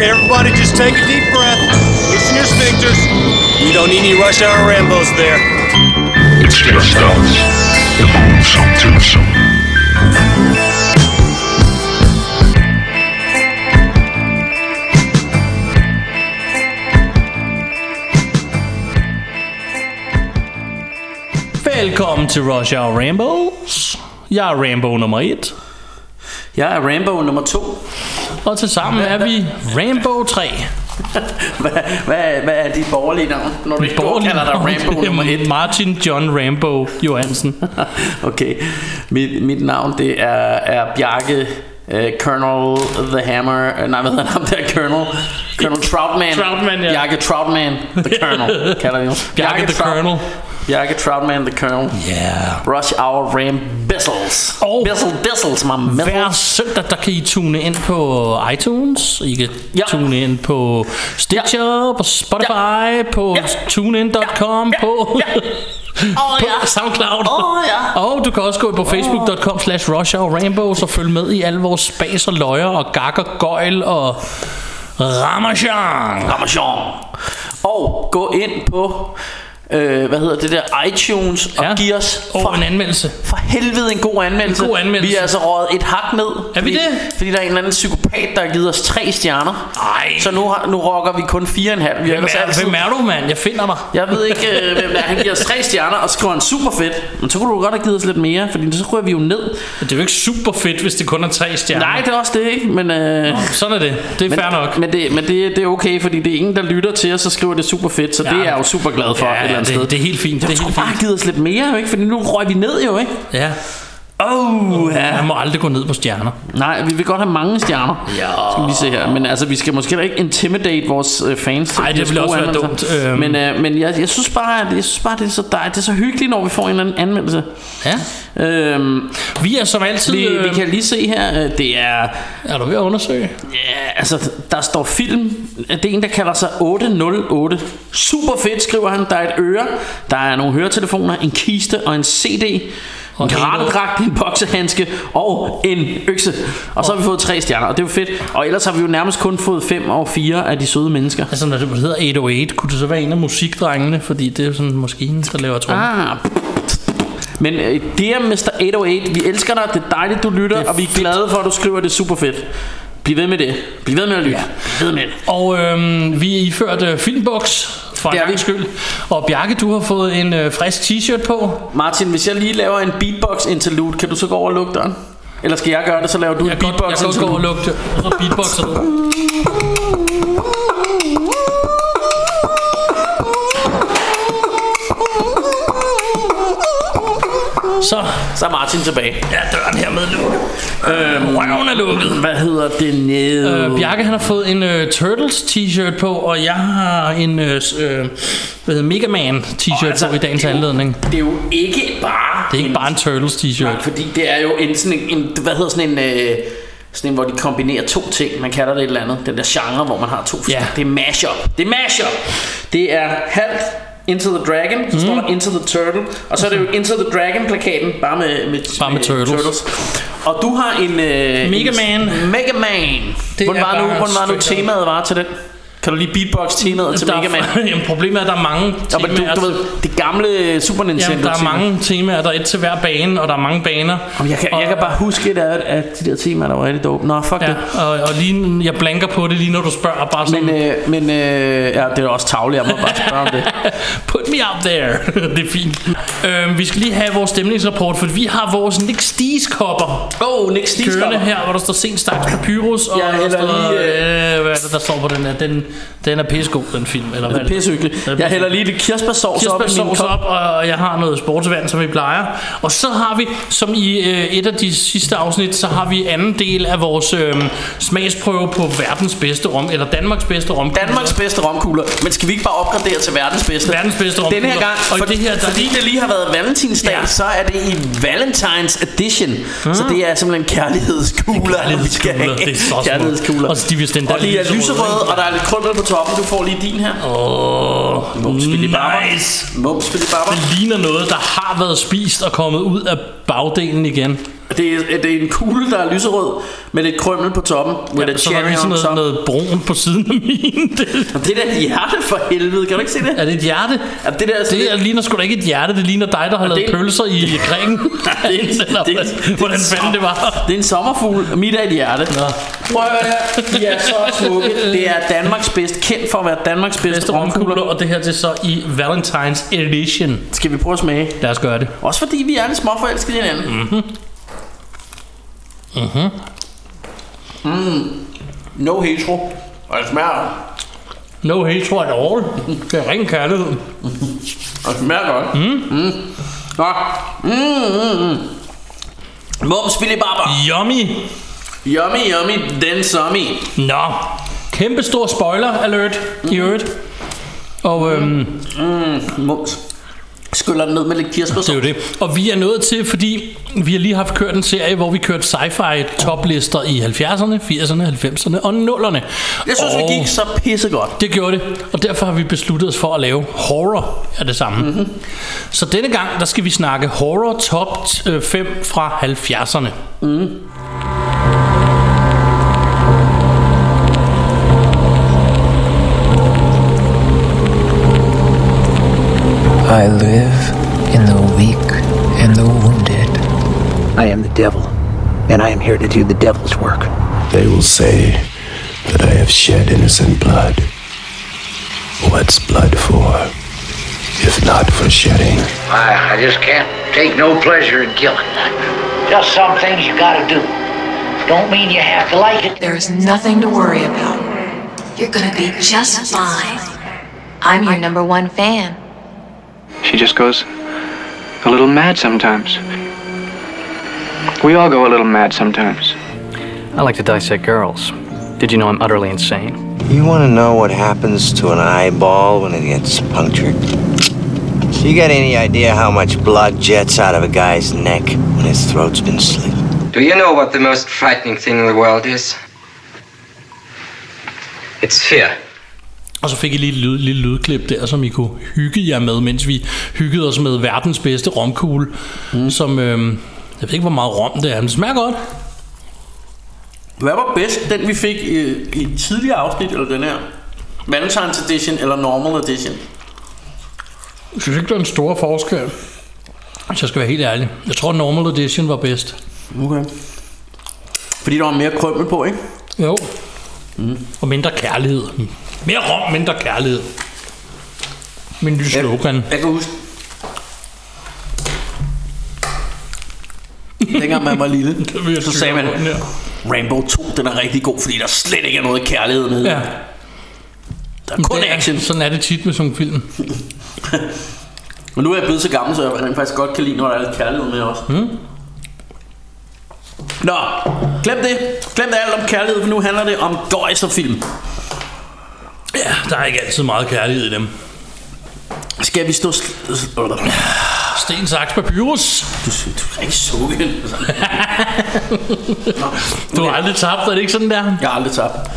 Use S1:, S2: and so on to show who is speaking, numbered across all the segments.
S1: Everybody just take a deep breath. Loosen your sphincters. You don't need any rush hour Rambos there.
S2: It's just us. The Lonesome Twosome.
S3: Velkommen til Rush Hour Rambos. Jeg er Rambo nummer 1,
S4: Jeg er Rambo nummer to.
S3: og tilsammen er vi Rambo 3.
S4: Hvad, hvad, hvad er dit borgerlige navn, når du ikke
S3: Borgerlig
S4: kalder dig
S3: navn,
S4: Rambo
S3: det er
S4: nummer et?
S3: Martin John Rambo Johansen.
S4: Okay, mit, mit navn det er, er Bjarke uh, Colonel The Hammer. øh, nej, hvad hedder han der? Colonel, Colonel Troutman.
S3: Troutman, ja.
S4: Bjarke Troutman The Colonel, kalder vi ham.
S3: Bjarke the
S4: Trout-
S3: Colonel.
S4: Bjarke Troutman The Colonel.
S3: Yeah.
S4: Rush Hour Ram Bissels.
S3: Og-
S4: Bissel, Bissels, my
S3: Hver
S4: missiles.
S3: søndag, der kan I tune ind på iTunes, I kan ja.
S4: Ja.
S3: tune ind på Stitcher, ja. på Spotify, ja. på ja.
S4: Ja.
S3: tunein.com, ja. på... Ja.
S4: Åh,
S3: på
S4: ja.
S3: SoundCloud.
S4: Åh, ja.
S3: Og du kan også gå på facebook.com slash Rambo og følge med i alle vores spas og løjer og gak og gøjl og ramachan.
S4: Ramachan. Og gå ind på, øh, hvad hedder det der, iTunes, og
S3: Ja.
S4: giv os
S3: Og en anmeldelse.
S4: for helvede en god anmeldelse.
S3: En god anmeldelse.
S4: Vi er altså røget et hak ned.
S3: Er vi
S4: fordi,
S3: det?
S4: Fordi der er en eller anden psykopat, der har givet os tre stjerner.
S3: Ej.
S4: Så nu, har, nu rocker vi kun fire og en halv. Vi
S3: Hvem
S4: har ellers
S3: er,
S4: altid-
S3: hvem er du, mand? Jeg finder dig.
S4: jeg ved ikke, øh, hvem der er. Han giver os tre stjerner og skriver en super fedt. Men så kunne du godt have givet os lidt mere, fordi så ryger vi jo ned.
S3: Det er jo ikke super fedt, hvis det kun er tre stjerner.
S4: Nej, det er også det, ikke? Men, øh,
S3: Sådan er det. Det er
S4: men,
S3: fair nok.
S4: men, det, men det, det er okay, fordi det er ingen, der lytter til os og skriver, det er super fedt. Så
S3: Ja.
S4: ja. det er jeg jo super glad for
S3: Ja,
S4: et eller andet
S3: det-
S4: sted.
S3: det er helt fint,
S4: Jeg
S3: det er
S4: skulle
S3: helt
S4: bare
S3: fint.
S4: have givet os lidt mere, jo, ikke? Fordi nu røg vi ned, jo, ikke?
S3: Ja.
S4: Oh, ja.
S3: Man må aldrig gå ned på stjerner.
S4: Nej, vi vil godt have mange stjerner.
S3: Ja.
S4: Skal vi se her. Men altså, vi skal måske heller ikke intimidate vores øh, fans. til
S3: Ej,
S4: at
S3: det
S4: give os
S3: ville
S4: gode
S3: også være
S4: anmeldelser.
S3: dumt. Øhm.
S4: Men, øh, men jeg, jeg, synes bare, at, jeg synes bare, det er så dejligt. Det er så hyggeligt, når vi får en eller anden anmeldelse.
S3: Ja.
S4: Øhm,
S3: Vi er som altid...
S4: vi, vi
S3: øh,
S4: kan lige se her, øh, det er...
S3: Er du ved at undersøge?
S4: Ja, altså, der står film. Det er en, der kalder sig 808. Super fedt, skriver han. Der er et øre, der er nogle høretelefoner, en kiste og en CD.
S3: Og
S4: En
S3: en
S4: karatedragt, en boksehandske og en økse. Og så har vi fået tre stjerner, og det er jo fedt. Og ellers har vi jo nærmest kun fået fem og fire af de søde mennesker.
S3: Altså, når det hedder 808, kunne det så være en af musikdrengene? Fordi det er jo sådan maskinen, der laver trommer.
S4: Ah, men øh, det er Mr. 808. Vi elsker dig. Det er dejligt, du lytter, og vi er glade for, at du skriver, det er super fedt. Bliv ved med det. Bliv ved med at lytte. Bliv ved med det.
S3: Og øhm, vi er iført øh, filmboks for en
S4: Det er vi.
S3: gangs skyld. Og Bjarke, du har fået en øh, frisk t-shirt på.
S4: Martin, hvis jeg lige laver en beatbox interlude, kan du så gå over og lukke døren? Eller skal jeg gøre det, så laver du
S3: Jeg
S4: en
S3: kan godt, jeg
S4: beatbox
S3: kan godt gå og lukke
S4: interlude?
S3: det. Og så beatboxer du. Så
S4: Så er Martin tilbage.
S3: er døren hermed lukket. Øh, røven er lukket.
S4: Hvad hedder det nede?
S3: Øh, Bjarke han har fået en øh, Turtles t-shirt på, og jeg har en øh, s- øh, hvad hedder, Mega Man t-shirt altså,
S4: Og altså,
S3: på i dagens
S4: det er jo-
S3: anledning. Det
S4: Det er jo ikke bare...
S3: er ikke bare en Turtles
S4: Nej,
S3: t-shirt.
S4: fordi det er jo en sådan en, en hvad hedder sådan en, øh, sådan en, hvor de kombinerer to ting. Man kalder det et eller andet. Den der genre, hvor man har to forskellige. Det er mashup. Det er mashup. Det er halvt Into the Dragon, så står der
S3: Mhm.
S4: Into the Turtle, og så er det jo Into the Dragon-plakaten, bare med, med,
S3: Bare med turtles.
S4: Og du har en...
S3: Mega
S4: Øh, en,
S3: Man.
S4: Mega Man.
S3: Det
S4: Hvordan
S3: er
S4: var, nu,
S3: bare
S4: hvordan var nu
S3: straight up.
S4: temaet var til den? Kan du lige beatbox temaet til
S3: Der
S4: altså Mega Man?
S3: er, jamen, problemet er, at der er mange
S4: Ja, men du,
S3: temaer.
S4: du ved, det gamle Super Nintendo
S3: Jamen, der er mange temaer, der er et til hver bane, og der er mange baner.
S4: Jamen, jeg, kan, jeg kan bare huske et af, af de der temaer, der var rigtig dope. Nå, fuck ja. det.
S3: Ja, og, og lige, jeg blanker på det lige når du spørger, bare sådan,
S4: Men, øh, men øh, ja, det er også tavligt, jeg må bare spørge om det.
S3: Put me out there. det er fint. Øhm, vi skal lige have vores stemningsrapport, for vi har vores Nick Stees kopper.
S4: Oh, Nick Stigskov.
S3: kørende her, hvor der står sent staks papyrus, og
S4: Ja,
S3: der
S4: eller
S3: står,
S4: lige,
S3: øh, hvad er det, der står på den her? Den, den er pissegod, den film. Eller hvad
S4: Det er pissehyggeligt. Jeg hælder lige lidt kirsebærsovs op i min
S3: Kirsebærsauce
S4: kop.
S3: op, og jeg har noget sportsvand, som vi plejer. Og så har vi, som i øh, et af de sidste afsnit, så har vi anden del af vores øh, smagsprøve på verdens bedste rom, eller Danmarks bedste rom.
S4: Danmarks bedste romkugler. Men skal vi ikke bare opgradere til verdens bedste?
S3: Verdens bedste romkugler.
S4: Denne her gang,
S3: Og i
S4: for,
S3: det her, der-
S4: fordi det lige har været valentinsdag,
S3: Ja.
S4: ja. så er det i Valentines Edition. Mm. Så det er simpelthen kærlighedskugler, vi skal have.
S3: det er så smukt.
S4: kærlighedskugler.
S3: Og så de vil stemme der
S4: og de er
S3: lyserøde,
S4: lyserøde, og der er lidt krømmel på toppen. Du får lige din her.
S3: Åh, oh,
S4: Mums, Philip Barber.
S3: nice.
S4: Mums, Philip Barber.
S3: Det ligner noget, der har været spist og kommet ud af bagdelen igen.
S4: Det er, det er en kugle, der er lyserød, med lidt krømmel på toppen. With ja, a
S3: så er der
S4: cherry
S3: lige sådan
S4: on
S3: noget,
S4: top.
S3: noget brun på siden af min. Det,
S4: Det er da et hjerte for helvede, kan du ikke se det?
S3: er det et hjerte?
S4: Ja, det der, altså,
S3: Det er, ligner sgu da ikke et hjerte, det ligner dig, der har lavet
S4: det er-
S3: pølser i Græken. Eller hvordan- Hvordan fanden det var.
S4: Det er en sommerfugl, og mit er et hjerte. Nå. Prøv at høre her. De er så smukke. Det er Danmarks bedst, kendt for at være Danmarks bedste
S3: Bedste
S4: romkugler.
S3: romkugler, og det her det er så i Valentine's Edition.
S4: Skal vi prøve at smage?
S3: Lad os gøre det.
S4: Også fordi vi er lidt småforelskede i hinanden. Mhm. Mhm.
S3: Mhm.
S4: Mm. No hetero. Og det smager,
S3: No hatred at all. Det er ren kærlighed.
S4: og det smager godt. Mm. Mm. Nå. Mm, mm, mm. Mums Philip Barber.
S3: Yummy.
S4: Yummy, yummy, then summy.
S3: Nå. Kæmpe stor spoiler alert
S4: Mhm.
S3: i øvrigt. Og øhm,
S4: Mums. Skyller den ned med lidt kirsebær.
S3: Det er jo det. Og vi er nået til, fordi vi har lige haft kørt en serie, hvor vi kørte sci-fi toplister i 70'erne, 80'erne, 90'erne og 0'erne.
S4: Jeg synes,
S3: og
S4: vi gik så pissegodt.
S3: Det gjorde det, og derfor har vi besluttet os for at lave horror af det samme. Mm-hmm. Så denne gang, der skal vi snakke horror top 5 fra 70'erne.
S5: I live in the weak and the wounded.
S6: I am the devil, and I am here to do the devil's work.
S7: They will say that I have shed innocent blood. What's blood for, if not for shedding?
S8: I, I just can't take no pleasure in killing. Just some things you gotta do. Don't mean you have to like it.
S9: There is nothing to worry about. You're gonna be just fine. I'm your number one fan.
S10: She just goes a little mad sometimes. We all go a little mad sometimes. I like to dissect girls. Did you know I'm utterly insane?
S11: You want to know what happens to an eyeball when it gets punctured? You got any idea how much blood jets out of a guy's neck when his throat's been slit?
S8: Do you know what the most frightening thing in the world is? It's fear.
S3: Og så fik I lige et lyd, lille lydklip der, som I kunne hygge jer med, mens vi hyggede os med verdens bedste romkugle, mm. som... Øhm, jeg ved ikke, hvor meget rom det er, men det smager godt.
S4: Hvad var bedst, den vi fik i, i et tidligere afsnit, eller den her? Valentine's Edition eller Normal Edition?
S3: Jeg synes ikke, der er en stor forskel. Hvis jeg skal være helt ærlig. Jeg tror, Normal Edition var bedst.
S4: Okay. Fordi der var mere krømmel på, ikke?
S3: Jo. Mm. Og mindre kærlighed. Mere rom, mindre kærlighed. Min nye slogan.
S4: Jeg kan huske... Dengang man var lille,
S3: vil jeg
S4: så
S3: tykke
S4: sagde man,
S3: om den her.
S4: Rainbow 2, den er rigtig god, fordi der slet ikke er noget kærlighed med.
S3: Ja.
S4: Der er kun
S3: Det er-
S4: action.
S3: Sådan er det tit med sådan nogle film.
S4: Men nu er jeg blevet så gammel, så jeg rent faktisk godt kan lide, når der er lidt kærlighed med også. Mm.
S3: Hmm?
S4: Nå, glem det. Glem det alt om kærlighed, for nu handler det om gøjs og film.
S3: Ja, der er ikke altid meget kærlighed i dem.
S4: Skal vi stå... sl- sl- Åh, der-
S3: Sten, saks, papyrus.
S4: Du, sy- du kan ikke sukke. Altså. Nå,
S3: Du har
S4: okay.
S3: aldrig tabt, er det ikke sådan der?
S4: Jeg har aldrig tabt.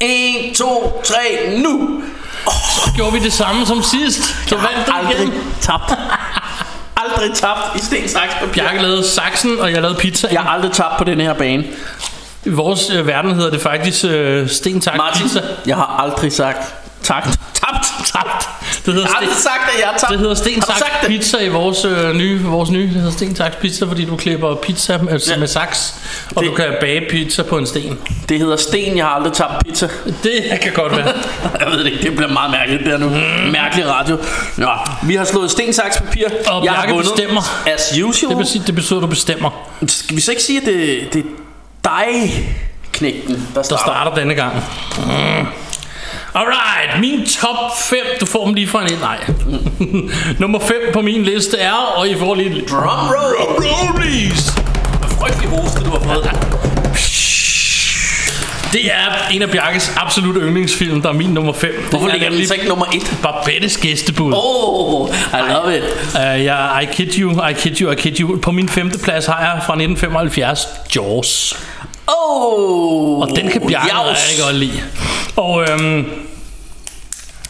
S4: 1, 2, 3, nu!
S3: Gjorde vi det samme som sidst? Så vandt du
S4: Aldrig
S3: igen.
S4: tabt. Aldrig tabt i sten, saks, papir.
S3: Bjarke lavede saksen, og jeg lavede pizza.
S4: Jeg har aldrig tabt på den her bane.
S3: I vores øh, verden hedder det faktisk øh, sten, tak,
S4: Martin,
S3: pizza.
S4: jeg har aldrig sagt tak. Tabt, tabt.
S3: Det hedder
S4: Jeg har aldrig
S3: sten,
S4: sagt, at jeg har tabt.
S3: det hedder sten
S4: Har du sagt
S3: saks
S4: det?
S3: pizza i vores øh, nye, vores nye. Det hedder sten saks pizza, fordi du klipper pizza med,
S4: Ja.
S3: ja. med saks, og
S4: Det-
S3: det. du kan bage pizza på en sten.
S4: Det hedder sten, jeg har aldrig tabt pizza.
S3: Det kan godt være.
S4: jeg ved det ikke, det bliver meget mærkeligt der nu. Mærkelig radio. Nå, vi har slået sten, saks, papir.
S3: Hmm. Og
S4: jeg har
S3: Bjarke
S4: vundet.
S3: bestemmer.
S4: As usual.
S3: Det betyder, det betyder, du bestemmer,
S4: Skal vi så ikke sige, at det, det er dig, knægten, der
S3: der
S4: starter?
S3: starter denne gang. Mm. Alright, min top 5, du får dem lige fra en ind. Nej. Nummer 5 på min liste er, og I får lige...
S4: Drumroll.
S3: Drumroll, please!
S4: Frygtelig hoste, du har fået.
S3: Det er en af Bjarkes absolutte yndlingsfilm, der er min nummer 5.
S4: Hvorfor ligger den så ikke nummer 1?
S3: Barbettes gæstebud.
S4: Oh, I love it.
S3: Uh, jeg, I kid you, I kid you, I kid you. På min femte plads har jeg fra 1975 Jaws.
S4: Oh,
S3: Og den kan Bjarke
S4: jaus.
S3: rigtig godt lide. Og øhm,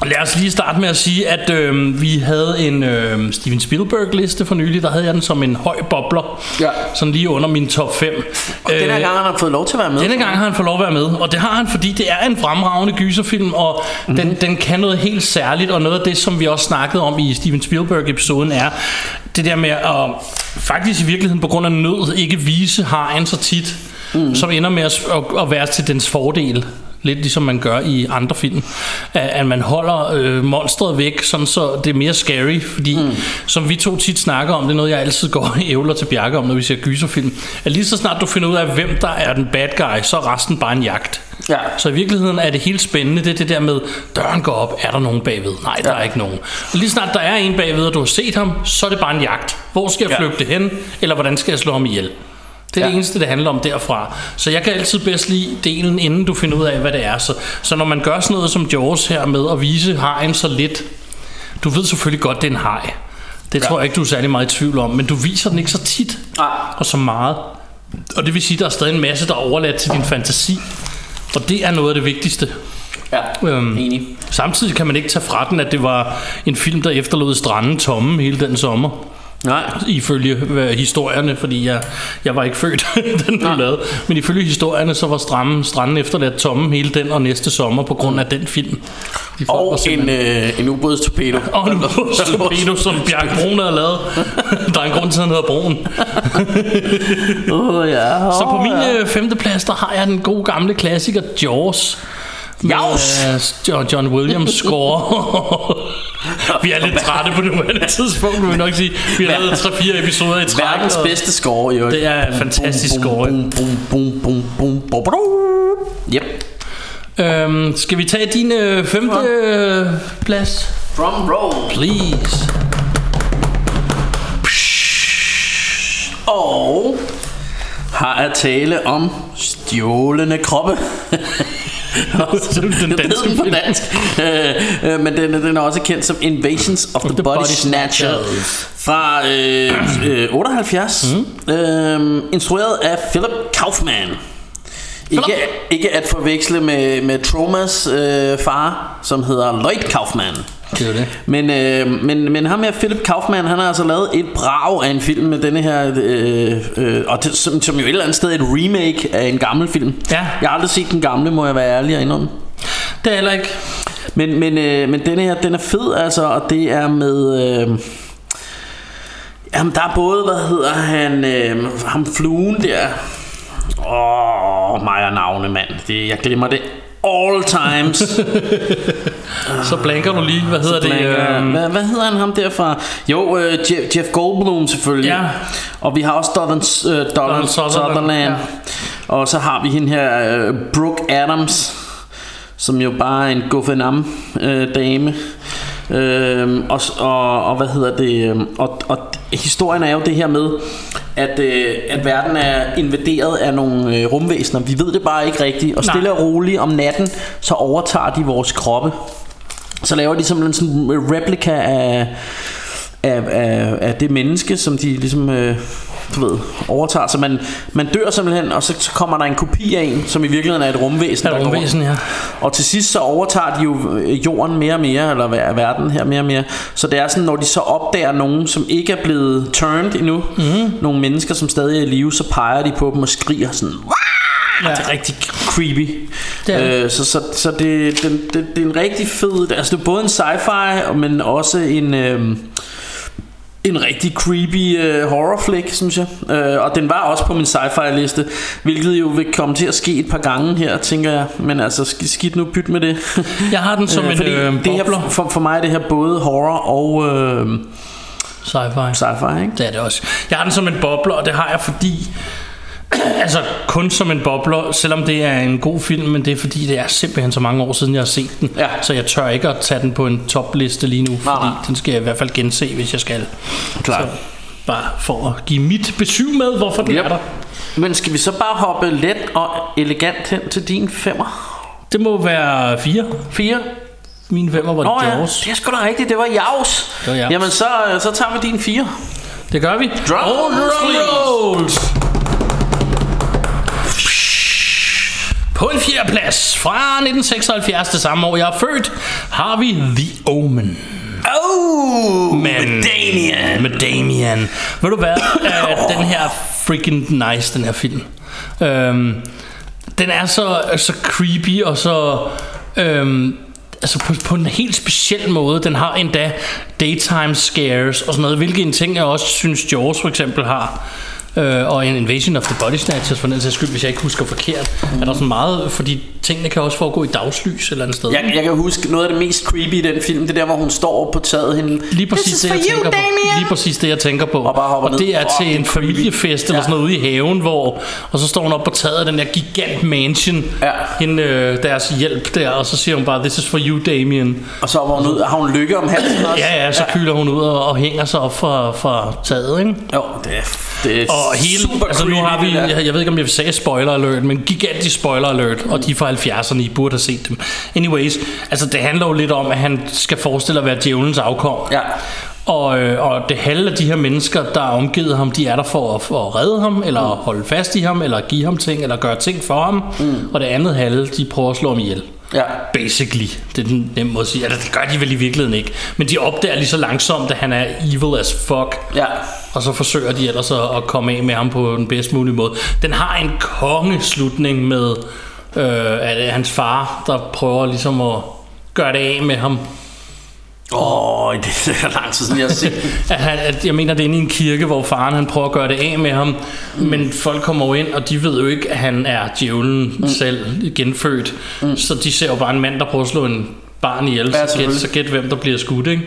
S3: Lad os lige starte med at sige, at øh, vi havde en øh, Steven Spielberg-liste for nylig. Der havde jeg den som en høj bobler. Ja. Sådan lige under min top Øh, 5.
S4: Og denne gang har han fået lov til at være med.
S3: Denne gang har han fået lov at være med. Og det har han, fordi det er en fremragende gyserfilm. Og
S4: Mhm.
S3: mm-hmm. den, den kan noget helt særligt. Og noget af det, som vi også snakkede om i Steven Spielberg-episoden, er det der med at faktisk i virkeligheden på grund af nød ikke vise hajen så tit.
S4: Mhm.
S3: Mm-hmm. Som ender med at, at, at være til dens fordel. Lidt ligesom man gør i andre film. At, at man holder øh, monstret væk, sådan så det er mere scary. Fordi, mm. som vi to tit snakker om, det er noget, jeg altid går og ævler til Bjarke om, når vi ser gyserfilm. At lige så snart du finder ud af, hvem der er den bad guy, så er resten bare en jagt.
S4: Ja.
S3: Så i virkeligheden er det helt spændende, det er det der med, døren går op, er der nogen bagved? Nej, der ja. er ikke nogen. Og lige snart der er en bagved, og du har set ham, så er det bare en jagt. Hvor skal jeg
S4: Ja.
S3: flygte hen? Eller hvordan skal jeg slå ham ihjel? Det er ja. det eneste, det handler om derfra. Så jeg kan altid bedst lide delen, inden du finder ud af, hvad det er. Så, så når man gør sådan noget som Jaws her med at vise hajen så lidt, du ved selvfølgelig godt, det er en haj. Det ja. tror jeg ikke, du er særlig meget i tvivl om, men du viser den ikke så tit
S4: Nej.
S3: og så meget. Og det vil sige, at der er stadig en masse, der er overladt til din fantasi. Og det er noget af det vigtigste.
S4: Ja,
S3: øhm,
S4: enig.
S3: Samtidig kan man ikke tage fra den, at det var en film, der efterlod stranden tomme hele den sommer.
S4: Nej.
S3: Ifølge øh, historierne, fordi jeg, jeg var ikke født, den blev lavet. Men ifølge historierne, så var stranden, stranden efterladt tomme hele den og næste sommer på grund af den film. De folk var
S4: Og en,
S3: simpelthen-
S4: øh, en ubådstorpedo.
S3: og en torpedo, som Bjarke Brun havde lavet. Der er en grund til, at han hedder Brun.
S4: oh, ja.
S3: Så på min øh, femteplads, der har jeg den gode gamle klassiker Jaws. Med,
S4: Jaws!
S3: øh, Jo- John Williams score. vi er lidt trætte på nuværende tidspunkt, vil jeg nok sige. Vi har lavet 3-4 episoder i træk.
S4: Verdens
S3: og-
S4: bedste score, jo.
S3: Det er en fantastisk score.
S4: Boom, boom, boom, boom, boom, boom, boom. Yep.
S3: Øhm, skal vi tage din øh, femte øh, plads?
S4: Drum roll.
S3: Please.
S4: Og har at tale om stjålende kroppe. den
S3: danske
S4: den på dansk. Øh, øh, men den, den er også kendt som Invasions of the, the Body,
S3: Body
S4: Snatcher fra øh, øh, 78. Mm. Øh, instrueret af Philip Kaufman. Ikke, ikke at forveksle med, med Tromas øh, far, som hedder Lloyd Kaufman.
S3: Det er jo det.
S4: Men, øh, men, men ham her, Philip Kaufman, han har altså lavet et brag af en film med denne her, øh, øh, og det, som, som jo et eller andet sted er et remake af en gammel film.
S3: Ja.
S4: Jeg har aldrig set den gamle, må jeg være ærlig og indrømme.
S3: Det er heller ikke.
S4: Men, men, øh, men denne her, den er fed altså, og det er med... Øh, jamen, der er både, hvad hedder han, øh, ham fluen der. Åh, mig og navne, mand. Det, jeg glemmer det all times.
S3: Så blanker du lige. Hvad hedder det?
S4: Blank, øh,
S3: Øhm,
S4: hvad, hvad hedder han ham derfra? Jo, øh, Jeff, Jeff Goldblum selvfølgelig.
S3: Ja.
S4: Og vi har også Donald, øh, Donald
S3: Sutherland,
S4: Sutherland. Sutherland. Ja. Og så har vi hende her, øh, Brooke Adams, som jo bare er en guffenam øh, dame. Øhm, og, s- og, og hvad hedder det øhm, og, og d- historien er jo det her med at, øh, at verden er invaderet af nogle øh, rumvæsener Vi ved det bare ikke rigtigt Og
S3: Nej.
S4: stille og roligt om natten Så overtager de vores kroppe så laver de simpelthen sådan en replika af, af, af, af det menneske, som de ligesom øh, du ved, overtager. Så man, man dør simpelthen, og så, så kommer der en kopi af en, som i virkeligheden er et rumvæsen.
S3: er
S4: der går rundt.
S3: rumvæsen, ja.
S4: Og til sidst så overtager de jo øh, jorden mere og mere, eller ver- verden her mere og mere. Så det er sådan, når de så opdager nogen, som ikke er blevet turned endnu,
S3: Mhm.
S4: mm. nogle mennesker, som stadig er i live, så peger de på dem og skriger sådan, Ja. Det er rigtig creepy.
S3: Det er det.
S4: Øh, så så, så det, den, det, det er en rigtig fed... Altså, det er både en sci-fi, men også en... Øh, en rigtig creepy øh, horror flick, synes jeg. Øh, og den var også på min sci-fi liste, hvilket jo vil komme til at ske et par gange her, tænker jeg. Men altså, sk- skidt nu byt med det.
S3: Jeg har den som en,
S4: fordi
S3: øh,
S4: det her,
S3: bobler.
S4: for, for mig er det her både horror og øh,
S3: Sci-fi.
S4: sci-fi, ikke?
S3: Det er det også. Jeg har den som en bobler, og det har jeg fordi... altså kun som en bobler, selvom det er en god film, men det er fordi, det er simpelthen så mange år siden, jeg har set den.
S4: Ja.
S3: Så jeg tør ikke at tage den på en topliste lige nu, fordi
S4: nej.
S3: den skal jeg i hvert fald gense, hvis jeg skal.
S4: Klart.
S3: Så bare for at give mit besøg med, hvorfor den
S4: Yep.
S3: er der.
S4: Men skal vi så bare hoppe let og elegant hen til din femmer?
S3: Det må være fire.
S4: Fire?
S3: Mine femmer var
S4: Nå
S3: oh,
S4: ja,
S3: Jaws.
S4: det er sgu da rigtigt, det var Jaws.
S3: Det var Jaws.
S4: Jamen så, øh, så tager vi din fire.
S3: Det gør vi.
S4: Drum
S3: Og
S4: rolls.
S3: rolls. På en fjerdeplads fra 1976, det samme år jeg er født, har vi The Omen.
S4: Oh,
S3: med Damien. Med Damien. Ved du hvad? øh, den her freaking nice, den her film. Øhm, den er så, så creepy og så... Øhm, altså på, på en helt speciel måde. Den har endda daytime scares og sådan noget, hvilke en ting, jeg også synes Jaws for eksempel har. Øh, og en Invasion of the Body Snatchers for den sags skyld, hvis jeg ikke husker forkert. Mm. Er der sådan meget, fordi tingene kan også foregå i dagslys et eller andet sted.
S4: Jeg, jeg kan huske noget af det mest creepy i den film, det er der, hvor hun står oppe på taget hende.
S3: Lige præcis, det, jeg tænker på. Lige præcis det, jeg tænker på. Og,
S4: bare hopper
S3: og
S4: ned.
S3: det er
S4: Fuck,
S3: til en familiefest eller sådan noget ude i haven, hvor, og så står hun op på taget af den der gigant mansion, ja. hende, øh, deres hjælp der, og så siger hun bare, this is for you, Damien.
S4: Og så var hun ud, har hun lykke om halsen også.
S3: Ja, ja, så kyler hun ud og, og hænger sig op fra, fra taget, ikke?
S4: Jo, det er, det er
S3: Og hele,
S4: super
S3: altså nu har vi,
S4: creepy, det der.
S3: jeg, jeg ved ikke om jeg vil sige spoiler alert, men gigantisk spoiler alert, og de er fra 70'erne, I burde have set dem. Anyways, altså det handler jo lidt om, at han skal forestille at være djævelens afkom.
S4: Ja.
S3: Og, øh, og det halve af de her mennesker, der er omgivet ham, de er der for at, for at redde ham, eller mm. holde fast i ham, eller give ham ting, eller gøre ting for ham. Mm. Og det andet halve, de prøver at slå ham ihjel.
S4: Ja.
S3: Basically. Det er den nemme måde at sige. Altså, det gør de vel i virkeligheden ikke. Men de opdager lige så langsomt, at han er evil as fuck.
S4: Ja.
S3: Og så forsøger de ellers at, at komme af med ham på den bedst mulige måde. Den har en kongeslutning med øh, at det er hans far, der prøver ligesom at gøre det af med ham.
S4: Åh, oh, det er lang tid siden, jeg har set den.
S3: at han, at jeg mener, det er inde i en kirke, hvor faren han prøver at gøre det af med ham, mm. men folk kommer jo ind, og de ved jo ikke, at han er djævlen mm. selv, genfødt. Mm. Så de ser jo bare en mand, der prøver at slå en barn ihjel,
S4: Ja,
S3: ja, så, gæt,
S4: selvfølgelig.
S3: så gæt hvem, der bliver skudt, ikke?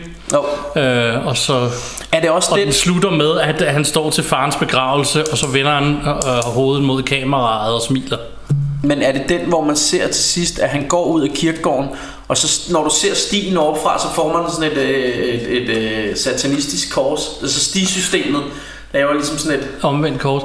S4: Jo.
S3: Øh, og så
S4: Er det også
S3: og den
S4: den?
S3: slutter med, at at han står til farens begravelse, og så vender han øh, hovedet mod kameraet og smiler.
S4: Men er det den, hvor man ser til sidst, at han går ud af kirkegården, og så når du ser stien oppefra, så får man sådan et, øh, et, et, et satanistisk kors. Altså stisystemet laver ligesom sådan et...
S3: Omvendt kors.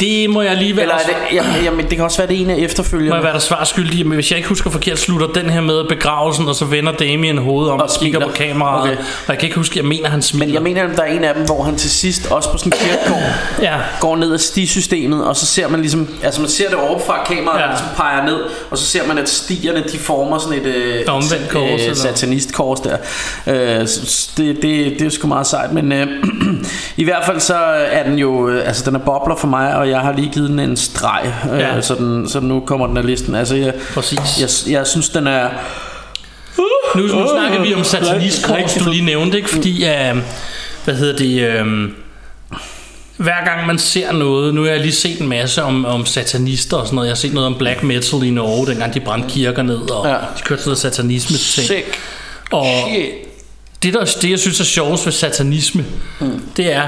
S3: Det må jeg lige være...
S4: Eller er det, jamen, jamen, det kan også være det ene af
S3: Må jeg
S4: efterfølgende.
S3: være der svar skyldig, men hvis jeg ikke husker forkert, slutter den her med begravelsen, og så vender Damien hovedet om og,
S4: Og
S3: og kigger på
S4: smiler.
S3: kameraet. Okay.
S4: Okay.
S3: Og jeg kan ikke huske, jeg mener, han smiler.
S4: Men jeg mener, at der er en af dem, hvor han til sidst, også på sådan en kirkegård,
S3: Ja,
S4: går ned ad stisystemet, og så ser man ligesom, altså man ser det oppefra kameraet,
S3: Ja.
S4: ja. ligesom peger ned, og så ser man, at stierne, de former sådan et øh,
S3: Omvendt kors, eller?
S4: øh, satanistkors der. Øh, s- s- det, det, det er jo sgu meget sejt, men øh, i hvert fald så er den jo, øh, altså den er bobler for mig, og jeg har lige givet den en streg, øh,
S3: Ja.
S4: ja. så, den, så nu kommer den af listen. Altså jeg,
S3: præcis.
S4: jeg, jeg synes, den er...
S3: Nu, nu
S4: Åh,
S3: snakker vi om satanistkors,
S4: rigtig
S3: du lige nævnte, ikke? Fordi, øh, hvad hedder det... Øh, hver gang man ser noget, nu har jeg lige set en masse om, om satanister og sådan noget, jeg har set noget om black metal i Norge, dengang de brændte kirker ned, og ja.
S4: Ja.
S3: de kørte sådan noget satanisme ting.
S4: Sick.
S3: Og
S4: Shit.
S3: det, der, det, jeg synes er sjovest ved satanisme, mm. det er,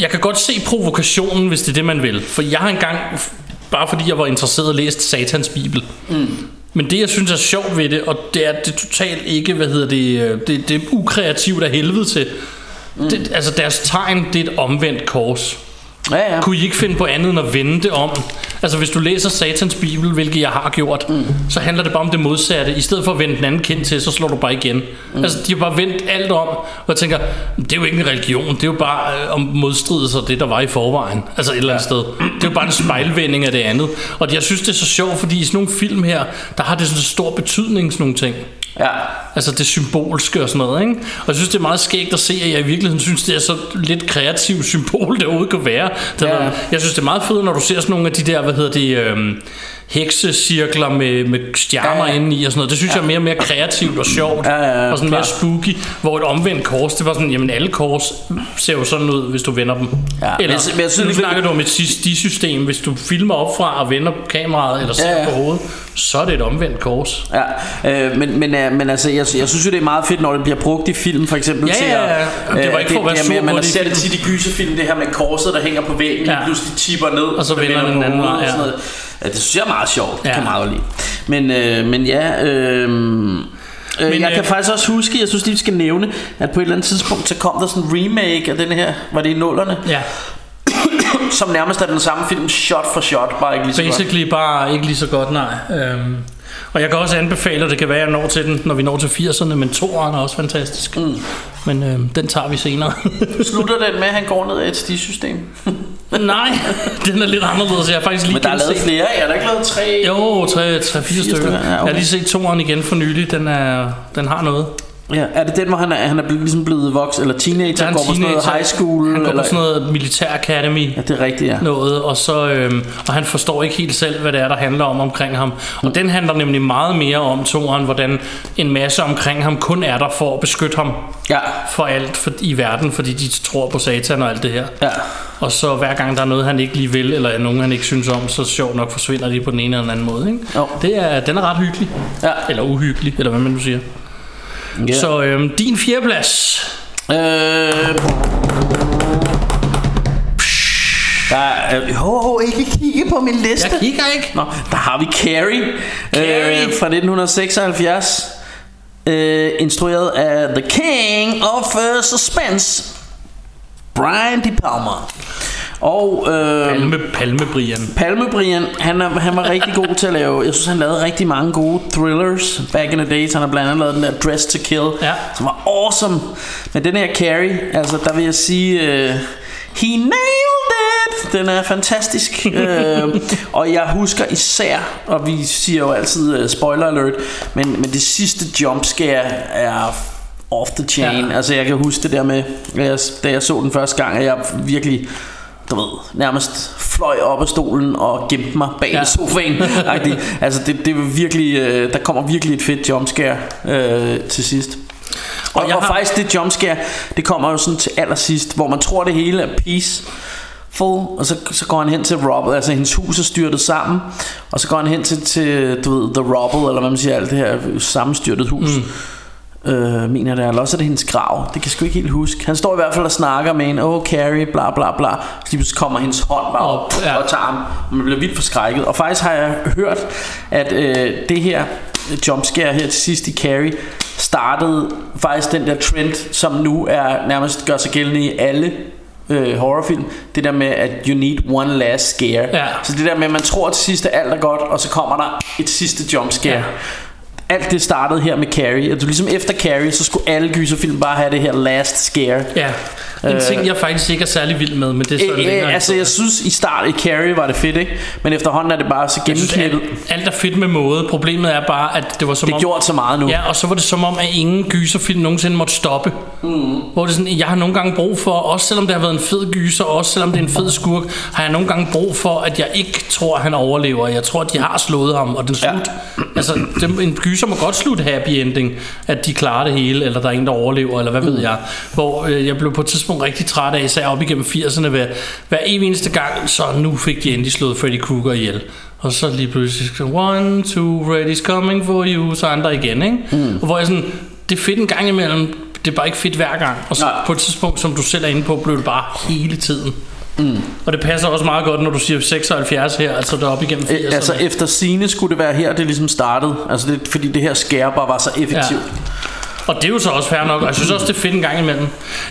S3: jeg kan godt se provokationen, hvis det er det, man vil. For jeg har engang, f- bare fordi jeg var interesseret, læst Satans Bibel. Mm. Men det, jeg synes er sjovt ved det, og det er det er totalt ikke, hvad hedder det, øh, det, det er ukreativt af helvede til. Mm. Det, altså deres tegn, det er et omvendt kors.
S4: Ja, ja.
S3: Kunne I ikke finde på andet end at vende det om? Altså hvis du læser Satans Bibel, hvilket jeg har gjort, mm. så handler det bare om det modsatte. I stedet for at vende den anden kind til, så slår du bare igen. Mm. Altså de har bare vendt alt om, og jeg tænker, det er jo ikke en religion, det er jo bare øh, om modstride sig det, der var i forvejen. Altså et eller andet sted. Det er jo bare en spejlvending af det andet. Og jeg synes det er så sjovt, fordi i sådan nogle film her, der har det sådan en stor betydning, sådan nogle ting.
S4: ja.
S3: Altså det symbolske og sådan noget, ikke? Og jeg synes, det er meget skægt at se, at jeg i virkeligheden synes, det er så lidt kreativt symbol, det overhovedet kan være. Det
S4: Ja.
S3: ja. Jeg synes, det er meget fedt, når du ser sådan nogle af de der, hvad hedder det, øhm, heksecirkler med, med stjerner ja,
S4: Ja,
S3: ja.
S4: ja.
S3: inde i og sådan noget. Det synes ja. jeg er mere og mere kreativt og sjovt, ja, ja, ja, og sådan mere spooky, hvor et omvendt kors, det var sådan, jamen alle kors ser jo sådan ud, hvis du vender dem.
S4: Ja, men
S3: Eller,
S4: jeg- men jeg synes ligesom-
S3: nu
S4: ikke-
S3: snakker du om et system, hvis du filmer opfra og vender kameraet eller ser ja,
S4: Ja,
S3: ja.
S4: ja.
S3: på hovedet, så er det et omvendt kors.
S4: Ja, øh, men, men, øh, men altså, jeg, jeg synes jo, det er meget fedt, når det bliver brugt i film, for eksempel.
S3: Ja,
S4: til
S3: ja, ja.
S4: at,
S3: Det var ikke for at være
S4: det,
S3: sur
S4: jamen,
S3: på
S4: Man
S3: det i
S4: ser det
S3: filmen.
S4: tit i gyserfilm, det her med korset, der hænger på væggen,
S3: Ja.
S4: ja. pludselig tipper ned, og
S3: så vender den
S4: på
S3: anden
S4: hovedet
S3: vej,
S4: og sådan
S3: ja.
S4: noget. Ja, det synes jeg er meget sjovt.
S3: Ja.
S4: Ja. kan jeg meget godt lide. Men, øh, men ja... Øh, men,
S3: Men,
S4: jeg
S3: øh,
S4: kan faktisk også huske, jeg synes lige vi skal nævne, at på et eller andet tidspunkt, så kom der sådan en remake af den her, var det i nullerne,
S3: Ja.
S4: som nærmest er den samme film, shot for shot, bare ikke lige så godt.
S3: Basically bare ikke lige så godt, nej. Øhm, og jeg kan også anbefale, og det kan være, at jeg når til den, når vi når til 80'erne, men toeren er også fantastisk. Mm. Men øhm, den tager vi senere.
S4: Slutter den med, at han går ned ad et stisystem.
S3: Nej, den er lidt anderledes. Jeg har faktisk lige
S4: Men der er lavet
S3: genset-
S4: flere af, er der ikke lavet tre?
S3: Jo, tre, tre fire stykker.
S4: stykker, ja,
S3: Jeg
S4: okay.
S3: har lige set toeren igen for nylig. Den, er, den har noget.
S4: Ja, er det den, hvor han er, han er blevet- ligesom blevet voksen eller teenager,
S3: Der er en
S4: går på sådan noget
S3: teenager.
S4: high school?
S3: Han går
S4: eller?
S3: på sådan noget militær academy.
S4: Ja, det er rigtigt, ja.
S3: Noget, og, så, øhm, og han forstår ikke helt selv, hvad det er, der handler om omkring ham. Og den handler nemlig meget mere om toren, hvordan en masse omkring ham kun er der for at beskytte ham.
S4: Ja.
S3: For alt for, i verden, fordi de tror på satan og alt det her.
S4: Ja.
S3: Og så hver gang der er noget, han ikke lige vil, eller nogen, han ikke synes om, så sjovt nok forsvinder de på den ene eller den anden måde. Ikke?
S4: Jo.
S3: Det er, den er ret hyggelig.
S4: Ja.
S3: Eller uhyggelig, eller hvad man nu siger.
S4: Ja.
S3: Så øhm, din fjerdeplads.
S4: Øh... Der er, øh, ho, ho, ikke kigge på min liste.
S3: Jeg kigger ikke.
S4: Nå, der har vi Carrie, Carrie. Øh, fra 1976. Øh, instrueret af The King of uh, Suspense, Brian De Palma. Og øh,
S3: Palme, Palmebrian.
S4: Palme Brian, han, er, han var rigtig god til at lave, jeg synes han lavede rigtig mange gode thrillers back in the days, han har blandt andet lavet den der Dress to Kill,
S3: Ja.
S4: som var awesome, men den her Carrie, altså der vil jeg sige, uh, he nailed it, den er fantastisk, uh, og jeg husker især, og vi siger jo altid uh, spoiler alert, men, men det sidste jumpscare er off the chain,
S3: Ja.
S4: ja. altså jeg kan huske det der med, at jeg, da jeg så den første gang, at jeg virkelig du ved, nærmest fløj op af stolen og gemte mig bag
S3: Ja.
S4: ja. sofaen. agtig. altså det, det var virkelig, øh, der kommer virkelig et fedt jumpscare øh, til sidst. Og,
S3: Og
S4: og,
S3: jeg
S4: og
S3: har-
S4: faktisk det jumpscare, det kommer jo sådan til allersidst, hvor man tror det hele er peace. Full, og så, så går han hen til Robble, altså hendes hus er styrtet sammen, og så går han hen til, til du ved, The Robble, eller hvad man siger, alt det her sammenstyrtet hus. Mm øh, mener det, er. eller også er det hendes grav. Det kan jeg sgu ikke helt huske. Han står i hvert fald og snakker med en, oh Carrie, bla bla bla. Så lige pludselig kommer hendes hånd bare op
S3: Op, ja.
S4: og tager ham, og man bliver vildt forskrækket. Og faktisk har jeg hørt, at øh, det her jumpscare her til sidst i Carrie startede faktisk den der trend, som nu er nærmest gør sig gældende i alle øh, horrorfilm. Det der med, at you need one last scare.
S3: Ja.
S4: Så det der med, at man tror til sidst, at alt er godt, og så kommer der et sidste jumpscare.
S3: Ja.
S4: Ja. Alt det startede her med Carrie. At du ligesom efter Carrie, så skulle alle gyserfilm bare have det her last scare.
S3: Ja, en øh,
S4: Øh,
S3: ting, jeg faktisk ikke er særlig vild med, men det er så
S4: Æ, æ,
S3: længere.
S4: altså jeg synes i start i Carrie var det fedt ikke Men efterhånden er det bare så
S3: Jeg synes,
S4: gennemknippet
S3: alt, alt er fedt med måde. Problemet er bare, at det var som
S4: Det
S3: om...
S4: gjorde så meget nu
S3: Ja, og så var det som om, at ingen gyserfilm nogensinde måtte stoppe. Mm. Hvor det er sådan, jeg har nogle gange brug for, også selvom det har været en fed gyser, og også selvom det er en fed skurk, har jeg nogle gange brug for, at jeg ikke tror, at han overlever. Jeg tror, at de har slået ham, og den
S4: Ja.
S3: slut. Altså, det, en gyser må godt slutte happy ending, at de klarer det hele, eller der er ingen, der overlever, eller hvad
S4: Mm.
S3: ved jeg. Hvor øh, jeg blev på et tidspunkt rigtig træt af, især op igennem 80'erne, hver, hver evig eneste gang, så nu fik de endelig slået Freddy Krueger ihjel. Og så lige pludselig, så, one, two, Freddy's coming for you, så er han der igen, ikke? Mm. Hvor jeg sådan, det er fedt en gang imellem, det er bare ikke fedt hver gang. Og så
S4: Nej.
S3: på et tidspunkt, som du selv er inde på, blev det bare hele tiden. Mm. Og det passer også meget godt, når du siger 76 her, altså deroppe igennem 80'erne.
S4: Æ, Altså efter sine skulle det være her det ligesom startede Altså det, fordi det her scare bare var så effektivt
S3: Og det er jo så også fair nok, og jeg synes også, det er fedt en gang imellem.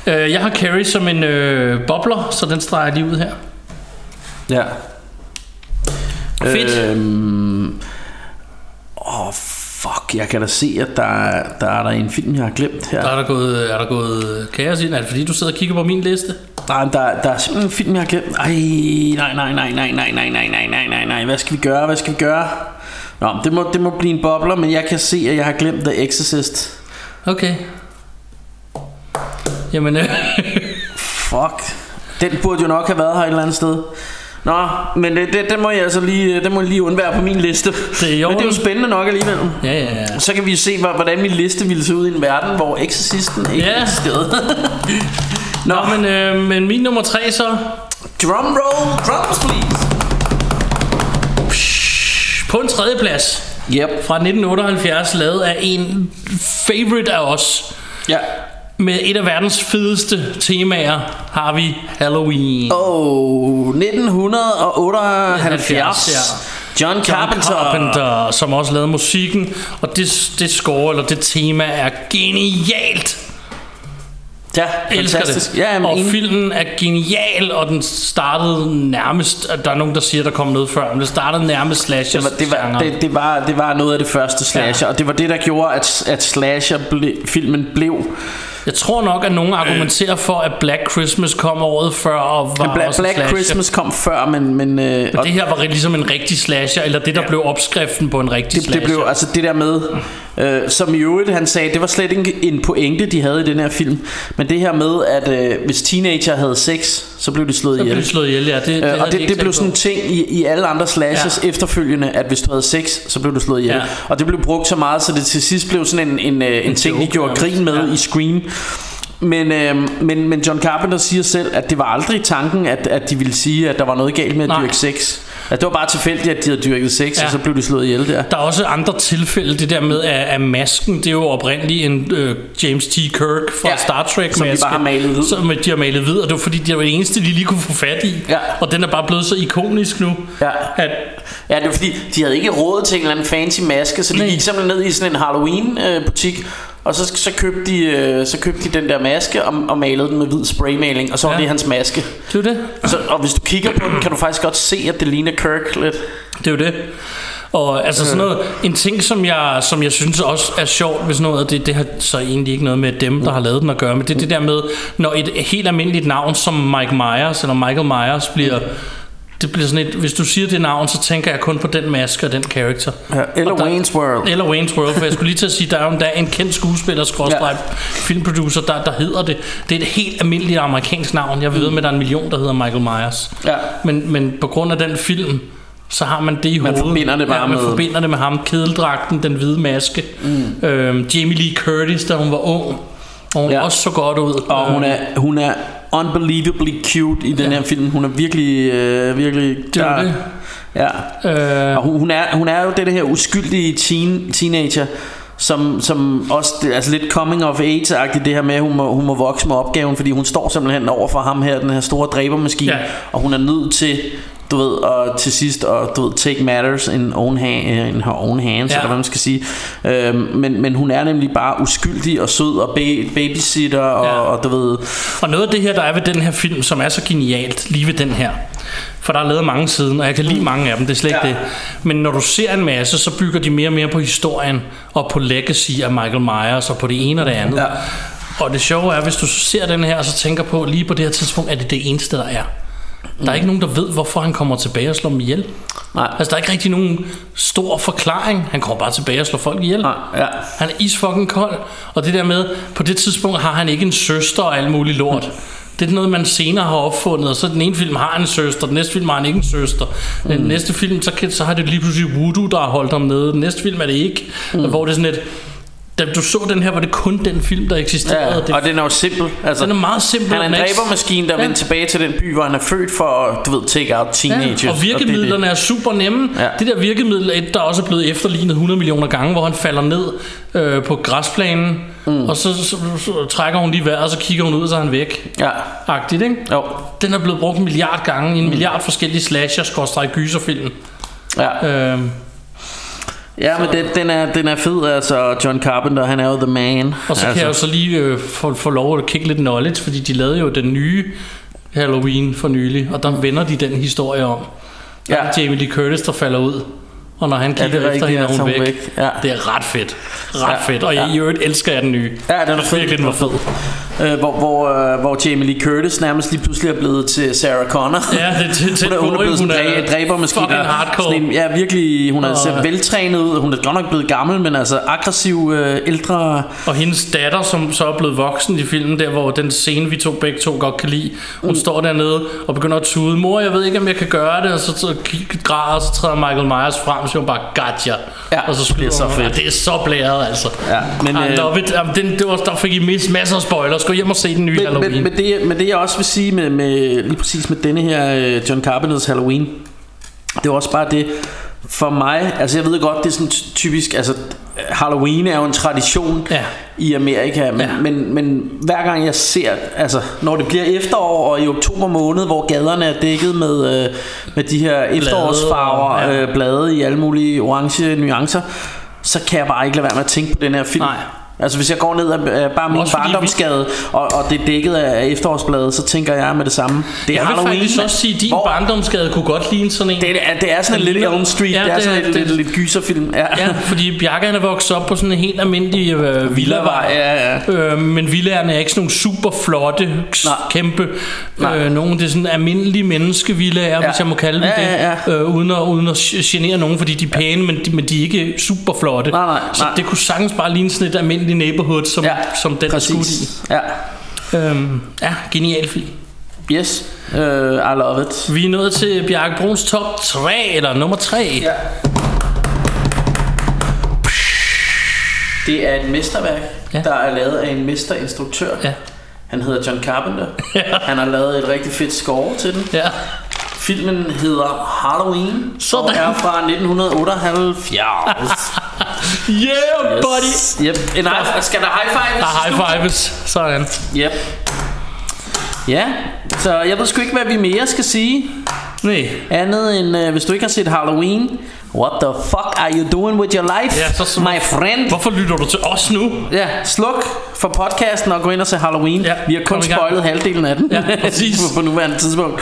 S3: Øh, jeg har Carrie som en øh, bobler, så den streger jeg lige ud her.
S4: Ja,
S3: Fedt.
S4: øhm, Åh fuck Jeg kan da se at der, der er der en film jeg har glemt her
S3: Der er der gået, er der gået øh, kaos ind? Er det fordi, du sidder og kigger på min liste?
S4: Nej, men der, der er simpelthen en film, jeg har glemt. Ej, nej, nej, nej, nej, nej, nej, nej, nej, nej, nej, nej. Hvad skal vi gøre? Hvad skal vi gøre? Nå, det må, det må blive en bobler, men jeg kan se, at jeg har glemt The Exorcist.
S3: Okay. Jamen, øh,
S4: Fuck. Den burde jo nok have været her et eller andet sted. Nå, men det, det, den må jeg altså lige, den må jeg lige undvære på min liste.
S3: er i
S4: men det er
S3: orden.
S4: jo spændende nok alligevel.
S3: ja, ja, ja.
S4: Så kan vi jo se, hvor- hvordan min liste ville se ud i en verden, hvor Exorcisten ikke
S3: Ja.
S4: yeah. eksisterede. Nå,
S3: Nå, men, øh, men min nummer tre så...
S4: drum roll, drums please.
S3: På en tredje plads
S4: Yep.
S3: fra 1978, lavet af en favorite af os.
S4: Ja.
S3: Med et af verdens fedeste temaer har vi Halloween.
S4: Oh, 1978.
S3: 70, ja.
S4: John Carpenter.
S3: Carpenter, som også lavede musikken, og det, det score, eller det tema, er genialt.
S4: Ja,
S3: Jeg elsker
S4: fantastisk.
S3: det.
S4: Ja, jamen,
S3: og
S4: en,
S3: filmen er genial, og den startede nærmest, at der er nogen, der siger, der kom noget før, men det startede nærmest slasher
S4: det, var, det, var, det, det, var, det var noget af det første slasher,
S3: Ja.
S4: ja. og det var det, der gjorde, at, at slasher ble, filmen blev
S3: Jeg tror nok, at nogen argumenterer for, at Black Christmas kom året før og var
S4: Black,
S3: også en
S4: Black
S3: slasher.
S4: Christmas kom før, men... men øh,
S3: Men det her var ligesom en rigtig slasher, eller det, der ja. blev opskriften på en rigtig
S4: det,
S3: slasher.
S4: det blev altså det der med, øh, som i øvrigt han sagde, det var slet ikke en pointe, de havde i den her film. Men det her med, at øh, hvis teenager havde sex, så blev de slået
S3: Så
S4: ihjel.
S3: blev de slået ihjel, ja. Det, det
S4: øh,
S3: havde
S4: og
S3: de
S4: det,
S3: ikke
S4: det blev
S3: tænkt
S4: sådan en
S3: på.
S4: ting i, i alle andre slashes ja. efterfølgende, at hvis du havde sex, så blev du slået ihjel.
S3: Ja.
S4: Ja. Og det blev brugt så meget, så det til sidst blev sådan en, en, øh, en, en ting, de
S3: joke
S4: gjorde
S3: nærmest.
S4: grin med
S3: Ja.
S4: ja. i Scream. Men, øh, men, men John Carpenter siger selv, at det var aldrig tanken, at, at de ville sige, at der var noget galt med at
S3: Nej.
S4: dyrke sex. At det var bare tilfældigt, at de havde dyrket sex,
S3: Ja.
S4: ja. og så blev de slået ihjel der.
S3: Der er også andre tilfælde, det der med, at, at masken, det er jo oprindeligt en øh, James T. Kirk fra ja,
S4: Ja,
S3: Star Trek
S4: som de bare har malet hvid.
S3: Som de har malet hvid, og det var fordi, det var det eneste, de lige kunne få fat i.
S4: Ja.
S3: Og den er bare blevet så ikonisk nu,
S4: Ja.
S3: at
S4: Ja, det var fordi, de havde ikke råd til en eller anden fancy maske, så de
S3: Nej.
S4: Nej. gik simpelthen ned i sådan en Halloween-butik, og så, så, købte de, øh, så købte de den der maske og, og malede den med hvid spraymaling, og så var
S3: Ja.
S4: ja. det hans maske.
S3: det er jo det.
S4: Så, og hvis du kigger på den, kan du faktisk godt se, at det ligner Kirk lidt.
S3: Det er jo det. Og altså sådan noget, en ting, som jeg, som jeg synes også er sjovt hvis noget, af det, det har så egentlig ikke noget med dem, der har lavet den at gøre, men det er det der med, når et helt almindeligt navn som Mike Myers eller Michael Myers bliver, det bliver sådan et, hvis du siger det navn, så tænker jeg kun på den maske og den karakter.
S4: Ja, eller
S3: Og der-
S4: Wayne's World.
S3: Eller Wayne's World, for jeg skulle lige til at sige, der er jo endda en kendt skuespiller, skråstreg, filmproducer, der, der hedder det. Det er et helt almindeligt amerikansk navn. Jeg
S4: Mm.
S3: ved med, at der er en million, der hedder Michael Myers.
S4: Ja.
S3: Men, men på grund af den film, så har man det i hovedet.
S4: forbinder det bare
S3: ja, man
S4: med-
S3: forbinder det med ham. Kedeldragten, den hvide maske. Mm. Øhm, Jamie Lee Curtis, da hun var ung. Og hun ja.
S4: Ja.
S3: også så godt ud.
S4: Og hun
S3: Øhm,
S4: er, hun er unbelievably cute i den
S3: Ja.
S4: her film. Hun er virkelig, øh, virkelig...
S3: Det er jo
S4: der-
S3: det.
S4: Ja,
S3: Øh,
S4: Og hun, hun, er, hun er jo det her uskyldige teen, teenager, som, som også det- altså lidt coming of age-agtigt det her med, at hun må, hun må vokse med opgaven, fordi hun står simpelthen over for ham her, den her store dræbermaskine,
S3: Ja.
S4: ja. og hun er nødt til du ved, og til sidst, og du ved, take matters in, own hand, in her own hands,
S3: Ja.
S4: ja. eller hvad man skal sige. Øhm, men, men hun er nemlig bare uskyldig og sød og ba- babysitter, og,
S3: Ja.
S4: ja. og du ved...
S3: Og noget af det her, der er ved den her film, som er så genialt, lige ved den her, for der er lavet mange siden, og jeg kan lide mange af dem, det er slet ikke ja.
S4: Mm. Ja.
S3: det. Men når du ser en masse, så bygger de mere og mere på historien, og på legacy af Michael Myers, og på det ene og det andet. Ja.
S4: Ja.
S3: Og det sjove er, hvis du så ser den her, og så tænker på, lige på det her tidspunkt, at det er det eneste, der er. Der er ikke nogen, der ved, hvorfor han kommer tilbage og slår dem ihjel.
S4: Nej.
S3: Altså, der er ikke rigtig nogen stor forklaring. Han kommer bare tilbage og slår folk ihjel.
S4: Nej, ja.
S3: Han er isfucking kold. Og det der med, på det tidspunkt har han ikke en søster og alt muligt lort. Det er noget, man senere har opfundet, og så den ene film har han en søster, den næste film har han ikke en søster.
S4: Mm.
S3: Den næste film, så, kan, så har det lige pludselig voodoo, der har holdt ham nede. Den næste film er det ikke, mm. hvor det er sådan et... Da du så den her, var det kun den film, der eksisterede.
S4: Ja, og den er jo simpel. Altså,
S3: den er meget simpel.
S4: Han er en
S3: Den er ikke-
S4: dræbermaskine, der
S3: Ja.
S4: ja. vender tilbage til den by, hvor han er født for at, du ved, take out teenagers.
S3: Ja, og virkemidlerne
S4: det
S3: er super nemme. Ja.
S4: Ja.
S3: Det der virkemiddel, et, der også er blevet efterlignet 100 millioner gange, hvor han falder ned øh, på græsplanen, mm. og så, så, så trækker hun lige vejret, og så kigger hun ud, og så er han væk.
S4: er det. Ja.
S3: Agtigt, ikke?
S4: Jo.
S3: Den er blevet brugt en milliard gange i en milliard forskellige slasher-gyserfilm.
S4: Ja,
S3: Øh,
S4: ja men den, den, er, den er fed, altså John Carpenter, han er jo the man.
S3: Og så altså.
S4: altså,
S3: kan jeg jo så lige øh, få, få lov at kigge lidt knowledge, fordi de lavede jo den nye Halloween for nylig, og der vender de den historie om. Ja.
S4: Ja.
S3: Jamie Lee Curtis, der falder ud, og når han
S4: det er
S3: kigger ja, efter
S4: rigtigt,
S3: hende, er hun
S4: ja, så er
S3: væk.
S4: hun
S3: væk.
S4: væk. Ja.
S3: Det er ret fedt. Ret ja.
S4: Ja,
S3: fedt. Og ja.
S4: ja.
S3: i øvrigt elsker jeg den nye.
S4: Ja, den er
S3: Jeg synes
S4: fed.
S3: virkelig, den var fed.
S4: Øh, hvor, hvor, øh, hvor Jamie Lee Curtis nærmest lige pludselig er blevet til Sarah Connor.
S3: Ja, det er tæt- tæt
S4: hun, er, hun
S3: på, ikke?
S4: er blevet sådan
S3: Hun er
S4: dræ, dræbermaskine.
S3: fucking hardcore.
S4: Sådan en, ja, virkelig. Hun er
S3: Og-
S4: ser veltrænet ud. Hun er godt nok blevet gammel, men altså aggressiv, øh, ældre...
S3: Og hendes datter, som så er blevet voksen i filmen, der hvor den scene, vi to begge to godt kan lide, hun mm. står dernede og begynder at tude, mor, jeg ved ikke, om jeg kan gøre det, og så, så kig- græder, og så træder Michael Myers frem, så siger hun bare, gotcha.
S4: Ja,
S3: og så
S4: det er
S3: skyder
S4: så
S3: hun.
S4: fedt.
S3: Ja, det er så blæret, altså.
S4: Ja, men,
S3: men, I
S4: øh,
S3: love it. Jamen, den, det var, der fik I mis, masser af spoilers. Gå hjem og se den nye
S4: men,
S3: Halloween.
S4: men, men, det, men det jeg også vil sige med, med lige præcis med denne her øh, John Carpenters Halloween, det er også bare det for mig, altså jeg ved godt det er sådan ty- typisk, altså Halloween er jo en tradition
S3: Ja.
S4: i Amerika, men,
S3: Ja.
S4: ja. men, men hver gang jeg ser, altså når det bliver efterår og i oktober måned, hvor gaderne er dækket med, øh, med de her efterårsfarver,
S3: og-
S4: blade,
S3: ja.
S4: ja. øh, blade i alle mulige orange nuancer, så kan jeg bare ikke lade være med at tænke på den her film.
S3: Nej.
S4: Altså hvis jeg går ned og øh, bare min
S3: Også fordi vi-
S4: barndomsgade, og, og det er dækket af efterårsbladet, så tænker jeg med det samme. Det er
S3: Jeg vil
S4: Halloween.
S3: faktisk også sige, at din barndomsgade kunne godt ligne sådan en.
S4: Det er, det er sådan en Little Elm Street. Det er sådan en lidt- gyserfilm. Ja,
S3: ja fordi Bjarke han er vokset op på sådan en helt almindelig øh, villavej.
S4: Ja, ja.
S3: Øh, men villaerne er ikke sådan nogle super flotte, s- kæmpe. Øh, nogle det er sådan almindelige menneskevillaer, ja. hvis jeg må kalde dem
S4: Ja, ja,
S3: det. Øh, uden, at, uden at genere nogen, fordi de er pæne, men de, men de er ikke super flotte. Nej, nej, så det kunne sagtens bare ligne sådan et almindeligt neighborhood, som, ja, som den er skudt i.
S4: Ja.
S3: Øhm, ja, genial film.
S4: Yes, uh, I love it.
S3: Vi er nået til Bjarke Bruns top 3, eller nummer 3. Ja.
S4: Det er et mesterværk, ja. der er lavet af en mesterinstruktør.
S3: Ja.
S4: Han hedder John Carpenter. ja. Han har lavet et rigtig fedt score til den.
S3: Ja.
S4: Filmen hedder Halloween Sådan. og er fra 1978.
S3: yeah,
S4: buddy! Yep. En high, skal der high five?
S3: Der er high fives. Sådan.
S4: Yep. Ja, så jeg ved sgu ikke, hvad vi mere skal sige.
S3: Nej.
S4: Andet end, øh, hvis du ikke har set Halloween, what the fuck are you doing with your life, ja, så my friend?
S3: Hvorfor lytter du til os nu?
S4: Ja, sluk for podcasten og gå ind og se Halloween. Ja, vi har
S3: kom
S4: kun
S3: i gang.
S4: spoilet halvdelen af den.
S3: Ja, præcis.
S4: på nuværende tidspunkt.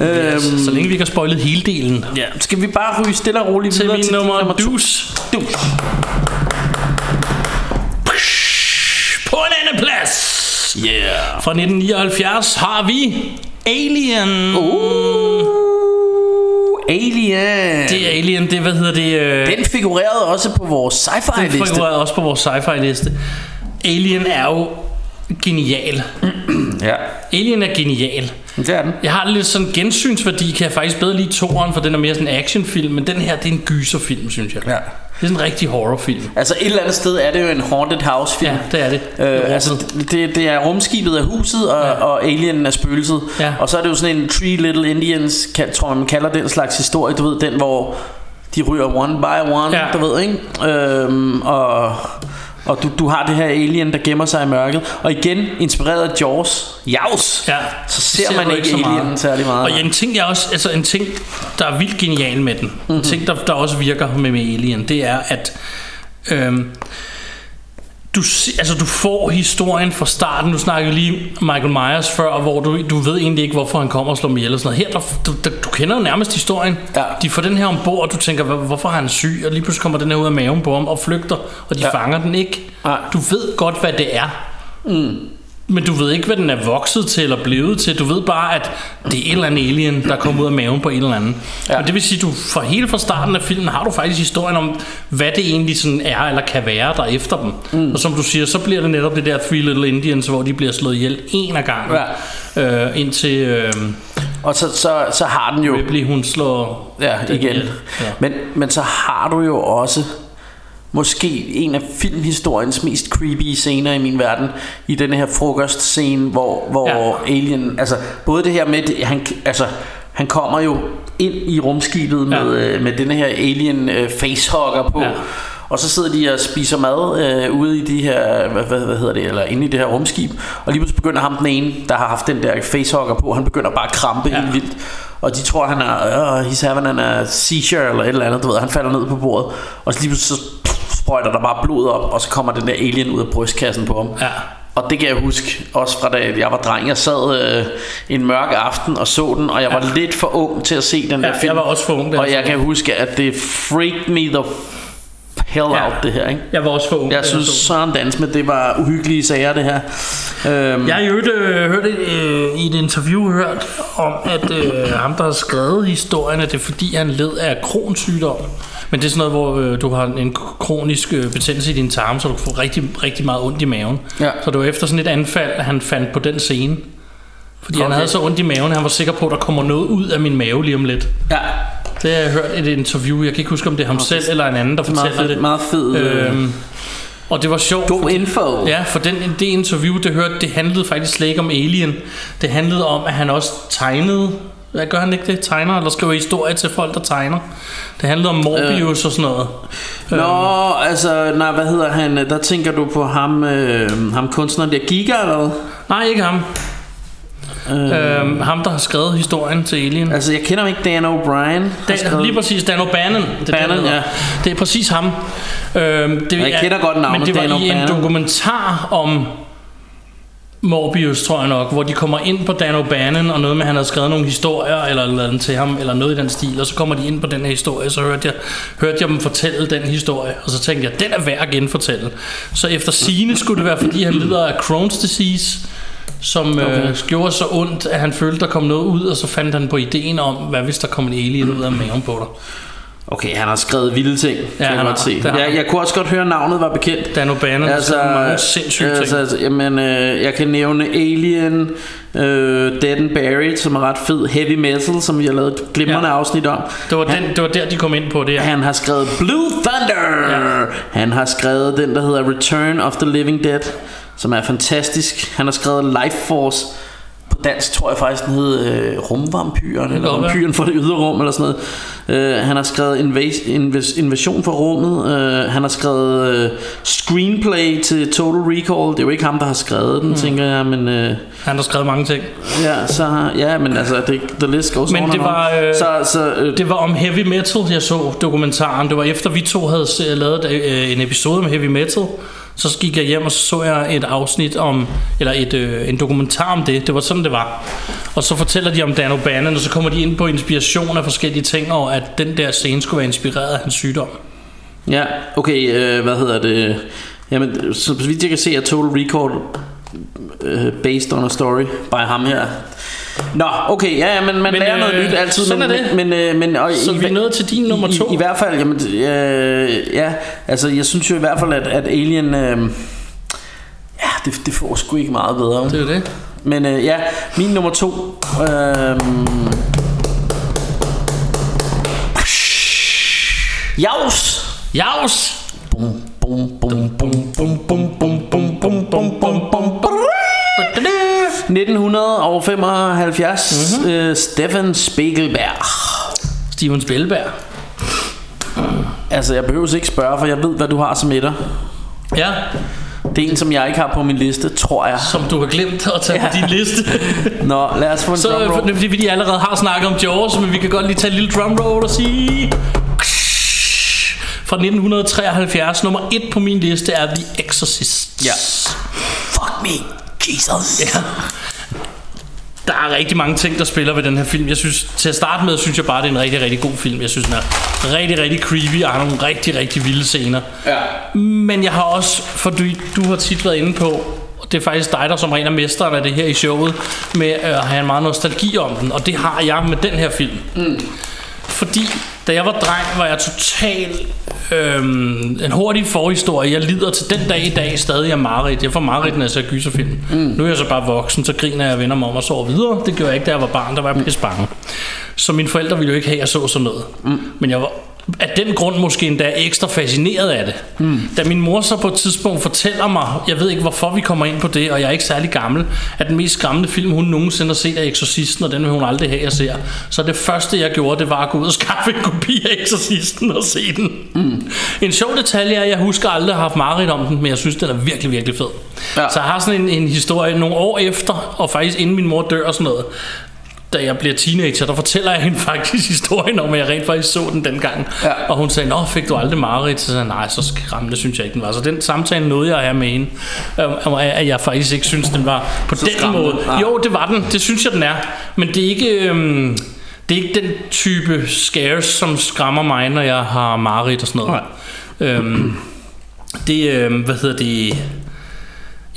S3: Yes, så længe vi ikke har spoilet hele delen.
S4: Ja, skal vi bare ryge stille og roligt
S3: Til
S4: videre
S3: min
S4: til
S3: nummer,
S4: nummer to?
S3: dus.
S4: Dus.
S3: På en anden plads.
S4: Yeah.
S3: Fra 1979 har vi Alien.
S4: Alien.
S3: Det er Alien, det hvad hedder det? Øh,
S4: Den figurerede også på vores sci-fi
S3: den
S4: liste.
S3: figurerer også på vores sci-fi liste. Alien er jo genial.
S4: Ja.
S3: Alien er genial.
S4: Det er den.
S3: Jeg har lidt sådan gensynsværdi, kan jeg faktisk bedre lide toeren, for den er mere sådan en actionfilm, men den her, det er en gyserfilm, synes jeg. Ja. Det er sådan en rigtig horrorfilm.
S4: Altså et eller andet sted er det jo en haunted house film. Ja,
S3: det er det.
S4: Øh, altså det- det, det er rumskibet af huset og, ja. og alienen er spøgelset. Ja. Og så er det jo sådan en Three Little Indians, kan, tror jeg man kalder den slags historie, du ved, den hvor de ryger one by one, ja. du ved, ikke? Øhm, og og du, du har det her alien, der gemmer sig i mørket. Og igen, inspireret af Jaws. Jaws!
S3: Ja,
S4: Så ser,
S3: du
S4: man ikke,
S3: så
S4: ikke
S3: meget.
S4: alienen særlig meget.
S3: Og ja, en ting, jeg også, altså en ting, der er vildt genial med den,
S4: Mhm.
S3: mm-hmm. en ting, der, der også virker med, med Alien, det er, at øhm, du, se- altså, du får historien fra starten. Du snakkede lige Michael Myers før, hvor du, du ved egentlig ikke, hvorfor han kommer og slår mig ihjel og sådan noget. Her, der, du, der, du kender jo nærmest historien. Ja. De får den her ombord, og du tænker, "Hvor- hvorfor har han syg? Og lige pludselig kommer den her ud af maven på ham og flygter, og de ja. fanger den ikke. Ja. Du ved godt, hvad det er.
S4: Mm.
S3: Men du ved ikke, hvad den er vokset til eller blevet til. Du ved bare, at det er et eller andet alien, der kommer ud af maven på en eller anden. Ja. Og det vil sige, at du fra hele fra starten af filmen har du faktisk historien om, hvad det egentlig sådan er eller kan være der er efter dem. Mm. Og som du siger, så bliver det netop det der Three Little Indians, hvor de bliver slået ihjel en af gangen. Ja. Øh, indtil... Øh,
S4: og så, så, så har den jo...
S3: Ripley, hun slår...
S4: Ja,
S3: den
S4: igen.
S3: ihjel.
S4: Ja. Men, men så har du jo også måske en af filmhistoriens mest creepy scener i min verden i den her frokostscene hvor hvor ja. alien altså både det her med det- han altså han kommer jo ind i rumskibet med øh, med den her alien øh, facehugger på. Ja. Og så sidder de og spiser mad øh, ude i de her, hvad, hvad, hvad hedder det, eller inde i det her rumskib. Og lige pludselig begynder ham den ene, der har haft den der facehugger på, han begynder bare at krampe ja. helt vildt. Og de tror, han er, uh, he's having an uh, seizure eller et eller andet, du ved, han falder ned på bordet. Og så lige pludselig så sprøjter der bare blod op, og så kommer den der alien ud af brystkassen på ham.
S3: Ja.
S4: Og det kan jeg huske, også fra da jeg var dreng. Jeg sad øh, en mørk aften og så den, og jeg var ja. lidt for ung til at se den
S3: Ja,
S4: der film.
S3: jeg var også for ung, da
S4: Og
S3: jeg så
S4: jeg kan huske, at det freaked me the hell ja. out, det her. Ikke?
S3: Jeg var også for ung.
S4: Jeg synes sådan dans med, det var uhyggelige sager, det her. Øhm,
S3: Jeg har i øvrigt øh, hørt et, øh, i et interview hørt om, at øh, ham, der har skrevet historien, at det er fordi, han led af kronsygdom. Men det er sådan noget, hvor øh, du har en kronisk øh, betændelse i din tarm, så du får rigtig, rigtig meget ondt i maven. Ja. Så det var efter sådan et anfald, at han fandt på den scene. Fordi okay. han
S4: Okay.
S3: havde så ondt i maven, at han var sikker på, at der kommer noget ud af min mave lige om lidt.
S4: Ja.
S3: Det har jeg hørt i et interview. Jeg kan ikke huske, om det er ham selv eller en anden, der
S4: det er meget
S3: fortæller det.
S4: fed- meget fed, øh,
S3: Øhm, og det var sjovt.
S4: God info.
S3: Ja, for den, det interview, det hørte, det handlede faktisk slet ikke om Alien. Det handlede om, at han også tegnede... Hvad gør han ikke det? Tegner eller skriver historier til folk, der tegner? Det handlede om Morbius øh. og sådan noget.
S4: Nå,
S3: øhm.
S4: altså, nej, hvad hedder han? øhm, Der tænker du på ham, øh, ham kunstneren der, Giga, eller hvad?
S3: Nej, ikke ham.
S4: Øh.
S3: Øhm, ham, der har skrevet historien til Alien.
S4: Altså, jeg kender ikke Dan O'Brien.
S3: Dan, lige præcis, Dan O'Bannon. Det, er
S4: Bannon,
S3: det,
S4: ja.
S3: det er præcis ham. Øhm, det,
S4: Jeg kender godt navnet,
S3: Men det var
S4: Dan
S3: i en
S4: O'Bannon.
S3: dokumentar om Morbius, tror jeg nok, hvor de kommer ind på Dan O'Bannon, og noget med, at han havde skrevet nogle historier, eller lavet den til ham, eller noget i den stil, og så kommer de ind på den her historie, så hørte jeg, hørte jeg dem fortælle den historie, og så tænkte jeg, den er værd at genfortælle. Så efter sine skulle det være, fordi han lider af Crohn's disease, som okay.
S4: Okay.
S3: øh, gjorde så ondt, at han følte, der kom noget ud, og så fandt han på ideen om, hvad hvis der kom en alien ud af maven på dig.
S4: Okay, han har skrevet vilde ting, kan
S3: han
S4: jeg
S3: har,
S4: godt se.
S3: det har
S4: Jeg,
S3: han.
S4: jeg kunne også godt høre, at navnet var bekendt.
S3: Dan O'Bannon altså, mange sindssyge ting.
S4: altså, altså, jamen, øh, jeg kan nævne Alien, øh, Dead and Buried, som er ret fed, Heavy Metal, som vi har lavet et glimrende ja. afsnit om.
S3: Det var, den, det var der, de kom ind på det.
S4: Han har skrevet Blue Thunder! Ja. Han har skrevet den, der hedder Return of the Living Dead, som er fantastisk. Han har skrevet Life Force. På dansk tror jeg faktisk, den hed øh, Rumvampyren, eller
S3: godt være.
S4: Vampyren fra det ydre rum, eller sådan noget. Øh, han har skrevet invas- invas- Invasion fra rummet. Øh, han har skrevet øh, Screenplay til Total Recall. Det er jo ikke ham, der har skrevet
S3: Hmm.
S4: den, mm. tænker jeg, men... Øh,
S3: Han har skrevet mange ting.
S4: ja, så, har- ja, men altså, det, the list goes on
S3: Men det
S4: and on.
S3: var, øh,
S4: så, så, øh,
S3: det var om heavy metal, jeg så dokumentaren. Det var efter vi to havde se- lavet øh, en episode om heavy metal. Så gik jeg hjem, og så så jeg et afsnit om, eller et, øh, en dokumentar om det. Det var sådan, det var. Og så fortæller de om Dan O'Bannon, og så kommer de ind på inspiration af forskellige ting, og at den der scene skulle være inspireret af hans sygdom.
S4: Ja, okay, øh, hvad hedder det? Jamen, så så vidt jeg kan se, er Total Recall øh, based on a story by ham her. Nå, okay, ja, ja men man
S3: Men,
S4: men, lærer noget
S3: øh,
S4: nyt altid.
S3: sådan
S4: men,
S3: er det.
S4: Men, øh, men, og
S3: Så
S4: i,
S3: vi er nået til din nummer to.
S4: I, i, i hvert fald, jamen, øh, ja, altså, jeg synes jo i hvert fald, at, at Alien, øh, ja, det, det får sgu ikke meget bedre.
S3: Det er jo det.
S4: Men øh, ja, min nummer to. Øh, Jaws!
S3: Jaws!
S4: Bum, bum, bum, bum, bum, bum, bum, bum, bum, bum, bum, bum, bum. 1975,
S3: Mhm.
S4: mm-hmm. øh, Stefan Spiegelberg.
S3: Steven Spielberg.
S4: Altså, jeg behøver ikke spørge, for jeg ved, hvad du har som etter.
S3: Ja,
S4: Det er en, som jeg ikke har på min liste, tror jeg.
S3: som du har glemt at tage ja. på din liste.
S4: Nå, lad os få en
S3: Så
S4: drumroll.
S3: øh, det er fordi, vi allerede har snakket om Jaws, men vi kan godt lige tage en lille drumroll og sige... Fra 1973, nummer 1 på min liste er The Exorcist.
S4: Ja. Fuck me, Jesus. Ja.
S3: Der er rigtig mange ting, der spiller ved den her film. Jeg synes, til at starte med, synes jeg bare, det er en rigtig, rigtig god film. Jeg synes, den er rigtig, rigtig creepy og har nogle rigtig, rigtig vilde scener. Ja. Men jeg har også, for du, du har tit været inde på, og det er faktisk dig, der som regel er mesteren af det her i showet, med øh, at have en meget nostalgi om den, og det har jeg med den her film. Mm. Fordi da jeg var dreng, var jeg total øhm, en hurtig forhistorie. Jeg lider til den dag i dag stadig af mareridt. Jeg får mareridt, når jeg ser gyserfilm. Mm. Nu er jeg så bare voksen, så griner jeg og vender mig om og sover videre. Det gjorde jeg ikke, da jeg var barn. Der var jeg pisse bange. Så mine forældre ville jo ikke have, at jeg så sådan noget. Mm. Men jeg var af den grund måske endda ekstra fascineret af det. Mm. Da min mor så på et tidspunkt fortæller mig, jeg ved ikke hvorfor vi kommer ind på det, og jeg er ikke særlig gammel, at den mest skræmmende film, hun nogensinde har set af Exorcisten, og den vil hun aldrig have, jeg ser. Så det første, jeg gjorde, det var at gå ud og skaffe en kopi af Exorcisten og se den. Mm. En sjov detalje er, at jeg husker aldrig at have haft mareridt om den, men jeg synes, den er virkelig, virkelig fed. Ja.
S4: Ja.
S3: Så jeg har sådan en, en historie nogle år efter, og faktisk inden min mor dør og sådan noget, da jeg bliver teenager, der fortæller jeg hende faktisk historien om, at jeg rent faktisk så den dengang. Ja. Og hun sagde, nå, fik du aldrig mareridt? Så sagde jeg, nej, så skræmmende synes jeg ikke, den var. Så den samtale nåede jeg at have med hende, øhm, og at at jeg faktisk ikke synes, den var på så den
S4: skræmmende.
S3: måde.
S4: Nej.
S3: Jo, det var den. Det synes jeg, den er. Men det er ikke... Øhm, det er ikke den type scares, som skræmmer mig, når jeg har mareridt og sådan noget. Øhm, det, øhm, hvad hedder det...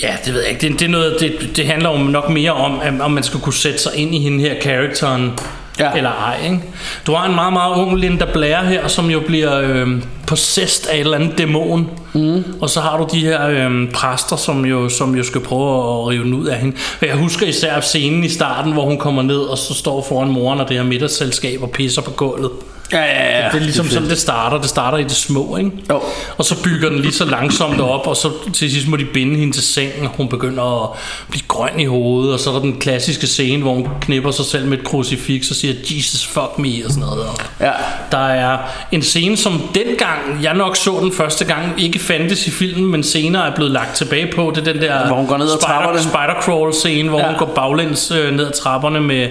S3: Ja, det ved jeg ikke. Det, det, er noget, det, det handler jo nok mere om, at- om man skal kunne sætte sig ind i hende her karakteren. Ja.
S4: Ja.
S3: Eller ej, ikke? Du har en meget, meget ung Linda Blair her, som jo bliver øh, possessed af et eller andet dæmon. Mm. Og så har du de her øh, præster, som jo, som jo skal prøve at rive den ud af hende. Og jeg husker især scenen i starten, hvor hun kommer ned, og så står foran moren og det her middagsselskab og pisser på gulvet. Ja, ja, ja. Det, det er ligesom
S4: Det
S3: det
S4: er
S3: sådan, det starter. Det starter i det små, ikke?
S4: Jo.
S3: Og så bygger den lige så langsomt op, og så til sidst må de binde hende til sengen, og hun begynder at blive grøn i hovedet, og så er der den klassiske scene, hvor hun knipper sig selv med et krucifix og siger, Jesus fuck me, og sådan noget. Og
S4: Ja.
S3: der er en scene, som dengang, jeg nok så den første gang, ikke fandtes i filmen, men senere er blevet lagt tilbage på. Det er den der
S4: Hvor hun går ned ad trapperne.
S3: spider scene, hvor
S4: Ja.
S3: ja. hun går baglæns øh, ned ad trapperne med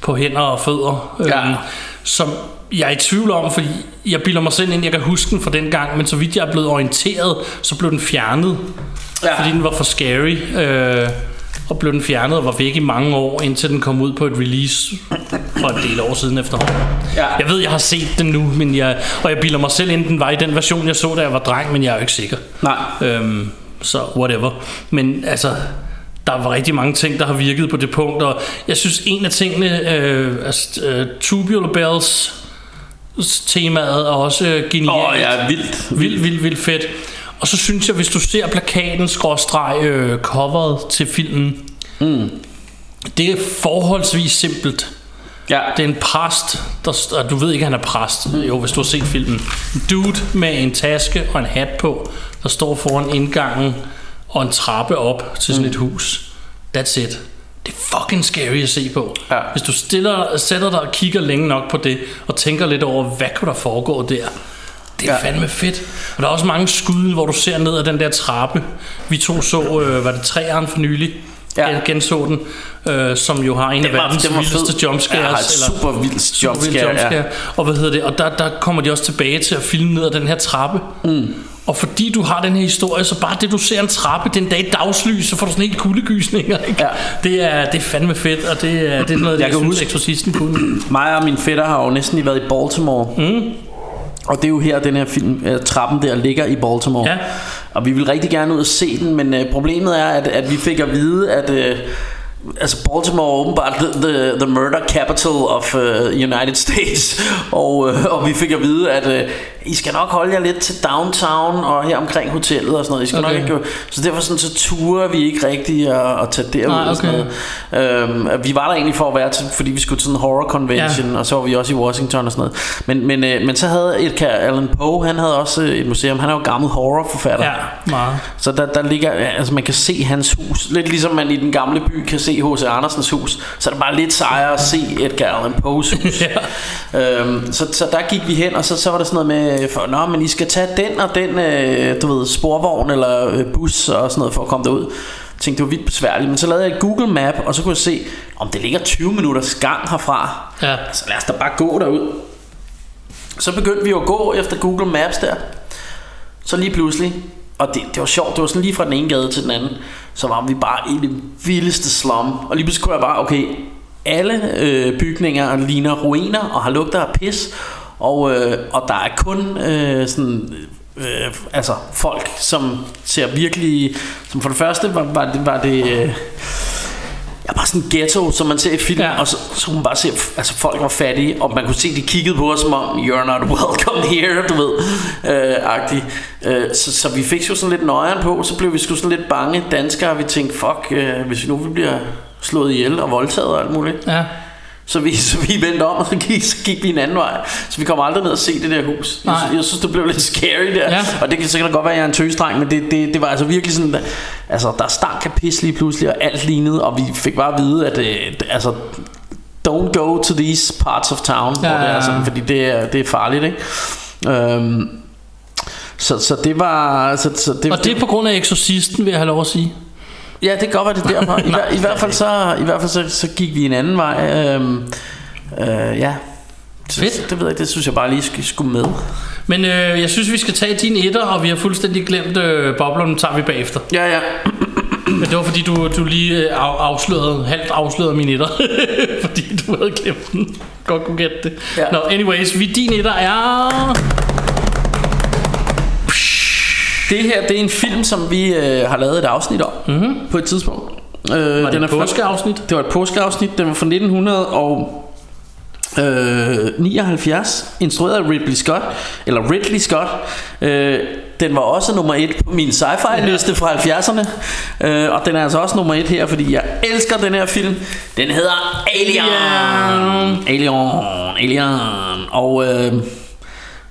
S3: på hænder og fødder. Øh,
S4: Ja.
S3: Som jeg er i tvivl om, fordi jeg bilder mig selv ind, jeg kan huske den fra den gang, men så vidt jeg er blevet orienteret, så blev den fjernet.
S4: Ja.
S3: Ja. Fordi den var for scary. Øh, og blev den fjernet og var væk i mange år, indtil den kom ud på et release for en del år siden efterhånden.
S4: Ja.
S3: Jeg ved, jeg har set den nu, men jeg, og jeg bilder mig selv ind, den var i den version, jeg så, da jeg var dreng, men jeg er jo ikke sikker.
S4: Nej.
S3: Øhm, så whatever. Men altså, der var rigtig mange ting, der har virket på det punkt, og jeg synes, en af tingene, øh, altså, øh, Tubular Bells temaet er også øh, genialt.
S4: Åh, ja, vildt.
S3: Vildt, vildt, vildt fedt. Og så synes jeg, hvis du ser plakaten, skråstreg, øh, coveret til filmen,
S4: Mm.
S3: det er forholdsvis simpelt.
S4: Ja.
S3: Det er en præst, der, st- og du ved ikke, han er præst. Jo, hvis du har set filmen. Dude med en taske og en hat på, der står foran indgangen og en trappe op til sådan mm. et hus. That's it. Det er fucking scary at se på. Ja. Hvis du stiller, sætter dig og kigger længe nok på det, og tænker lidt over, hvad kunne der foregå der? Det er ja. fandme fedt. Og der er også mange skud, hvor du ser ned ad den der trappe. Vi to så, øh, var det træeren for nylig, ja. jeg genså den, øh, som jo har en af
S4: Den var-
S3: verdens
S4: den var fed.
S3: vildeste jumpscares.
S4: Ja, et super vildt
S3: super vildt
S4: jumpscare, ja.
S3: Og hvad hedder det? Og der, der kommer de også tilbage til at filme ned ad den her trappe. Mm. Og fordi du har den her historie, så bare det, du ser en trappe den dag i dagslys, så får du sådan helt kuldegysninger. Ikke? Ja. Det, er, det er fandme fedt, og det er, det er noget, jeg, jeg
S4: kan
S3: synes,
S4: huske-
S3: Exorcisten kunne.
S4: Mig og min fætter har jo næsten lige været i Baltimore. Mm. Og det er jo her, den her film, øh, trappen der ligger i Baltimore.
S3: Ja.
S4: Og vi ville rigtig gerne ud og se den, men øh, problemet er, at, at vi fik at vide, at... Øh, Altså Baltimore er åbenbart the, the, the murder capital of uh, United States og, uh, og vi fik at vide at uh, I skal nok holde jer lidt til downtown og her omkring hotellet og sådan noget I skal okay.
S3: Okay.
S4: nok ikke, Så derfor sådan, så turer vi ikke rigtig at, at tage derud
S3: Nej,
S4: og sådan
S3: okay.
S4: noget Øhm, vi var der egentlig for at være til, fordi vi skulle til sådan en horror convention, ja. og så var vi også i Washington og sådan noget. Men, men, øh, men så havde Edgar Allan Poe, han havde også øh, et museum, han er jo gammel horrorforfatter.
S3: Ja, meget.
S4: Så der, der ligger, ja, altså man kan se hans hus, lidt ligesom man i den gamle by kan se H.C. Andersens hus, så er det bare lidt sejere at se Edgar Allan Poes hus. ja. øhm, så, så der gik vi hen, og så, så var der sådan noget med, øh, for, Nå, men I skal tage den og den, øh, du ved, sporvogn eller øh, bus og sådan noget for at komme derud. Jeg tænkte, det var vildt besværligt, men så lavede jeg et Google Map, og så kunne jeg se, om det ligger 20 minutters gang herfra.
S3: Ja.
S4: Så Altså, lad os da bare gå derud. Så begyndte vi jo at gå efter Google Maps der. Så lige pludselig, og det, det var sjovt, det var sådan lige fra den ene gade til den anden, så var vi bare i det vildeste slum. Og lige pludselig kunne jeg bare, okay, alle øh, bygninger ligner ruiner og har lugter af pis, og, øh, og der er kun øh, sådan... Øh, altså folk, som ser virkelig... Som for det første var, var det... Var det øh, jeg var sådan en ghetto, som man ser i film, ja. og så, så kunne man bare se, at altså, folk var fattige, og man kunne se, at de kiggede på os, som om, you're not welcome here, du ved, øh, agtig. Øh, så, så vi fik jo sådan lidt nøjeren på, så blev vi sgu sådan lidt bange danskere, og vi tænkte, fuck, øh, hvis vi nu vi bliver slået ihjel og voldtaget og alt muligt.
S3: Ja.
S4: Så vi, så vi vendte om, og så gik, så gik vi en anden vej. Så vi kom aldrig ned og se det der hus. Jeg,
S3: Nej.
S4: jeg synes, det blev lidt scary der.
S3: Ja.
S4: Og det kan sikkert godt være, at jeg er en tøsdreng, men det, det, det var altså virkelig sådan... Altså, der stank af pis lige pludselig, og alt lignede, og vi fik bare at vide, at... Øh, d- altså, don't go to these parts of town, ja.
S3: Ja,
S4: hvor det
S3: ja,
S4: er
S3: ja.
S4: sådan, fordi det er, det er farligt, ikke? Øhm, så, så det var... Så, så det,
S3: Og det er på grund af Exorcisten, vil jeg have lov at sige.
S4: Ja, det kan godt være det er derfor. I, hver, i hvert fald så i hvert fald så, så gik vi en anden vej. Øhm, øh, ja. Så,
S3: Fedt.
S4: så det ved jeg, ikke, det synes jeg bare lige skulle, skulle med.
S3: Men øh, jeg synes, vi skal tage din etter, og vi har fuldstændig glemt øh, boblerne, tager vi bagefter.
S4: Ja, ja.
S3: Men det var fordi, du, du lige øh, af, afslørede, halvt afslørede min etter, fordi du havde glemt den. Godt kunne gætte det.
S4: Ja.
S3: Ja. Nå, anyways, vi, din etter er...
S4: Det her det er en film, som vi øh, har lavet et afsnit om mm-hmm. på et tidspunkt. Øh,
S3: Mhm. Var det et
S4: fra-
S3: påskeafsnit?
S4: Det var et påskeafsnit. Den var fra 1900 og... Øh, 79, instrueret af Ridley Scott, eller Ridley Scott. Øh, den var også nummer et på min sci-fi liste fra 70'erne. Øh, og den er altså også nummer et her, fordi jeg elsker den her film. Den hedder Alien. Alien. Alien. Og øh,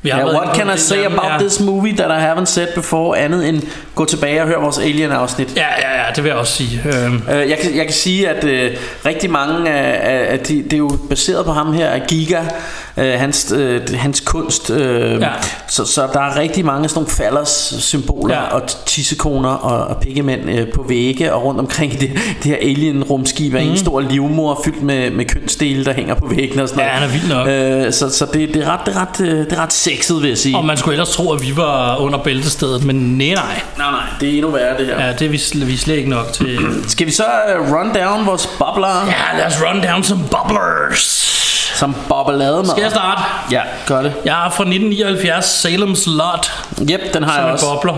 S3: Vi har
S4: yeah,
S3: været
S4: what
S3: inde på
S4: can I
S3: det
S4: say
S3: samme,
S4: about
S3: ja.
S4: this movie that I haven't said before andet end gå tilbage og hør vores Alien-afsnit?
S3: Ja, ja, ja, det vil jeg også sige. Øhm,
S4: Øh, jeg, kan, jeg kan sige, at øh, rigtig mange af, af- af de, det er jo baseret på ham her, Giga, øh, hans, øh, hans kunst. Øh,
S3: Ja.
S4: så, så der er rigtig mange af sådan nogle fallers symboler ja. og t- tissekoner og, og pikkemænd øh, på vægge og rundt omkring i det, det her alien-rumskib
S3: Mhm.
S4: er mm. en stor livmor fyldt med, med kønsdele, der hænger på væggen og sådan noget.
S3: Ja, han er vild nok.
S4: Øh, så så det, det, er ret, det, er ret, øh, det er ret sexet, vil jeg sige.
S3: og man skulle ellers tro, at vi var under bæltestedet, men nej, nej.
S4: Nej, nej, det er endnu værre det her.
S3: Ja, det er vi, sl- vi er slet ikke nok til.
S4: Skal vi så øh, run down vores bobler?
S3: Ja, lad os run down som bubblers.
S4: Som bobbelademad.
S3: Skal jeg starte?
S4: Ja, gør det.
S3: Jeg er fra 1979, Salem's Lot,
S4: Yep, den har
S3: som
S4: jeg
S3: er
S4: også.
S3: bobler.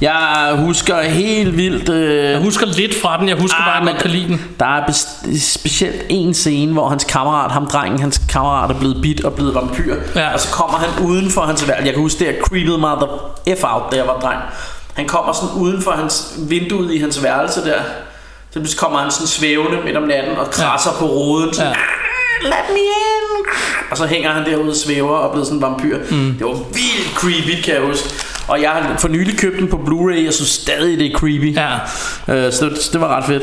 S4: Jeg husker helt vildt... Øh, Ah,
S3: Jeg husker lidt fra den, jeg husker bare, at man kan lide den.
S4: der er bes- specielt en scene, hvor hans kammerat, ham drengen, hans kammerat er blevet bit og blevet vampyr.
S3: Ja.
S4: Og så kommer han uden for hans værelse. Jeg kan huske, det jeg creepede mig the F out, da jeg var dreng. Han kommer sådan uden for hans vinduet i hans værelse der. Så pludselig kommer han sådan svævende midt om natten og krasser ja. på roden. Sådan,
S3: Ja.
S4: "Ah, Let me in! Og så hænger han derude og svæver og er blevet sådan en vampyr. Mm. Det var vildt creepy, kan jeg huske. Og jeg har for nylig købt den på Blu-ray. Jeg synes stadig, det er creepy.
S3: Ja.
S4: Øh, så det, det var ret fedt.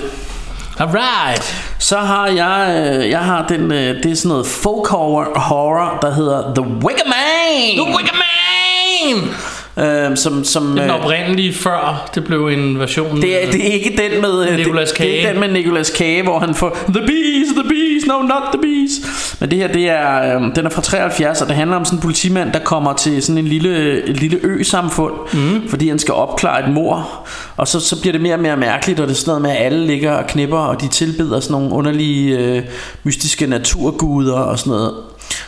S3: Alright.
S4: Så har jeg, øh, jeg har den, øh, det er sådan noget folk horror, horror der hedder The Wicker Man.
S3: The Wicker Man!
S4: Man! Øh, som, som,
S3: Det er
S4: øh,
S3: den oprindelige før, det blev en version.
S4: det, er, det er ikke den med øh,
S3: Nicolas
S4: det, det er
S3: Cage.
S4: ikke den med Nicolas Cage, hvor han får The Bees, The Bees, no not The Bees. Men det her, det er, øh, den er fra 73, og det handler om sådan en politimand, der kommer til sådan en lille, et lille ø-samfund, mm. fordi han skal opklare et mor. Og så, så bliver det mere og mere mærkeligt, og det er sådan noget med, at alle ligger og knipper, og de tilbeder sådan nogle underlige, øh, mystiske naturguder og sådan noget.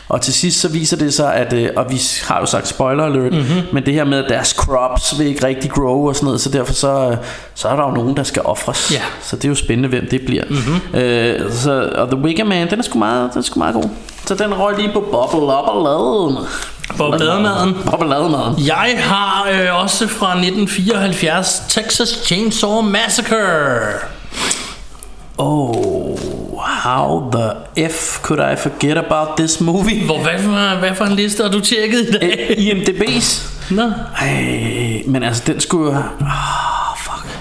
S4: Og til sidst så viser det sig, at, øh, og vi har jo sagt spoiler alert, mm-hmm. men det her med, at deres crops vil ikke rigtig grow og sådan noget, så derfor så, øh, så er der jo nogen, der skal ofres.
S3: Ja.
S4: Så det er jo spændende, hvem det bliver. Mm-hmm. Øh, så, og The Wicker Man, den er sgu meget, den er sgu meget god. Så den røg lige på bobble op og laden.
S3: Bobblademaden.
S4: Bobble laden.
S3: Jeg har øh, også fra 1974 Texas Chainsaw Massacre.
S4: Oh, how the F could I forget about this movie?
S3: Hvor, hvad, for, hvad for en liste har du tjekket i dag?
S4: Øh, IMDB's.
S3: Nå.
S4: Ej, men altså, den skulle jo... Ah, fuck.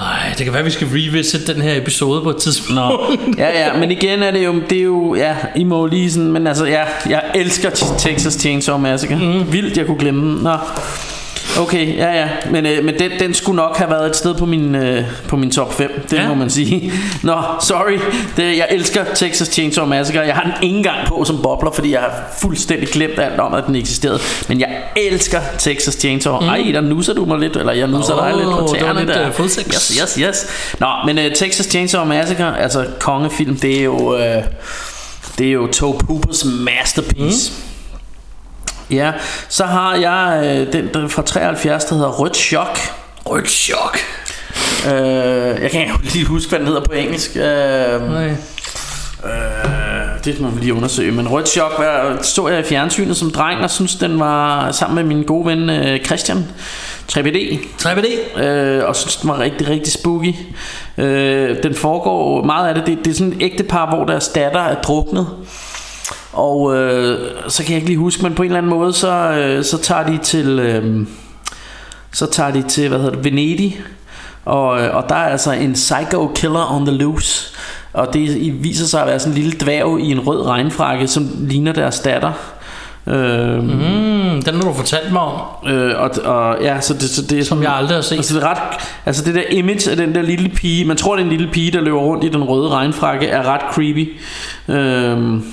S3: Ej, det kan være, vi skal revisit den her episode på et tidspunkt. Nå.
S4: Ja, ja, men igen er det jo, det er jo, ja, I må jo lige sådan, men altså, ja, jeg elsker Ch- Texas Chainsaw Massacre. Mm. Vildt, jeg kunne glemme den. Nå. Okay, ja, ja, men, øh, men den, den skulle nok have været et sted på min, øh, på min top 5, det
S3: Ja.
S4: ja. må man sige. Nå, sorry, det, jeg elsker Texas Chainsaw Massacre, jeg har den ikke engang på som bobler, fordi jeg har fuldstændig glemt alt om, at den eksisterede, men jeg elsker Texas Chainsaw. Mm. Ej, der nusser du mig lidt, eller jeg nusser
S3: Åh,
S4: dig lidt
S3: det
S4: på
S3: var
S4: tæerne
S3: lidt,
S4: der.
S3: øh, fodsex.
S4: Yes, yes, yes. Nå, men uh, Texas Chainsaw Massacre, altså kongefilm, det er jo uh, det er jo Toe Poopers masterpiece. Mm. Ja, så har jeg uh, den der fra 73, der hedder Rødt Chok.
S3: Rødt chok.
S4: Uh, jeg kan ikke lige huske, hvad den hedder på engelsk. Uh, uh,
S3: Nej.
S4: det må vi lige undersøge. Men Rødt Chok hvad- så jeg i fjernsynet som dreng, og synes, den var sammen med min gode ven uh, Christian 3BD.
S3: 3BD.
S4: øh, og synes, den var rigtig, rigtig spooky. Øh, den foregår, meget af det, det, det er sådan et ægtepar, hvor deres datter er druknet. Og øh, så kan jeg ikke lige huske, men på en eller anden måde, så, øh, så tager de til... Øh, så tager de til, hvad hedder det, Venedig, og, øh, og der er altså en psycho killer on the loose, og det i- viser sig at være sådan en lille dværg i en rød regnfrakke, som ligner deres datter. Øh, mm.
S3: Mm, den har du fortalt mig om.
S4: Øh, og, og, ja, så det, så det er
S3: Som jeg aldrig har set.
S4: Altså det, er ret, altså det der image af den der lille pige, man tror det er en lille pige, der løber rundt i den røde regnfrakke, er ret creepy. Øhm,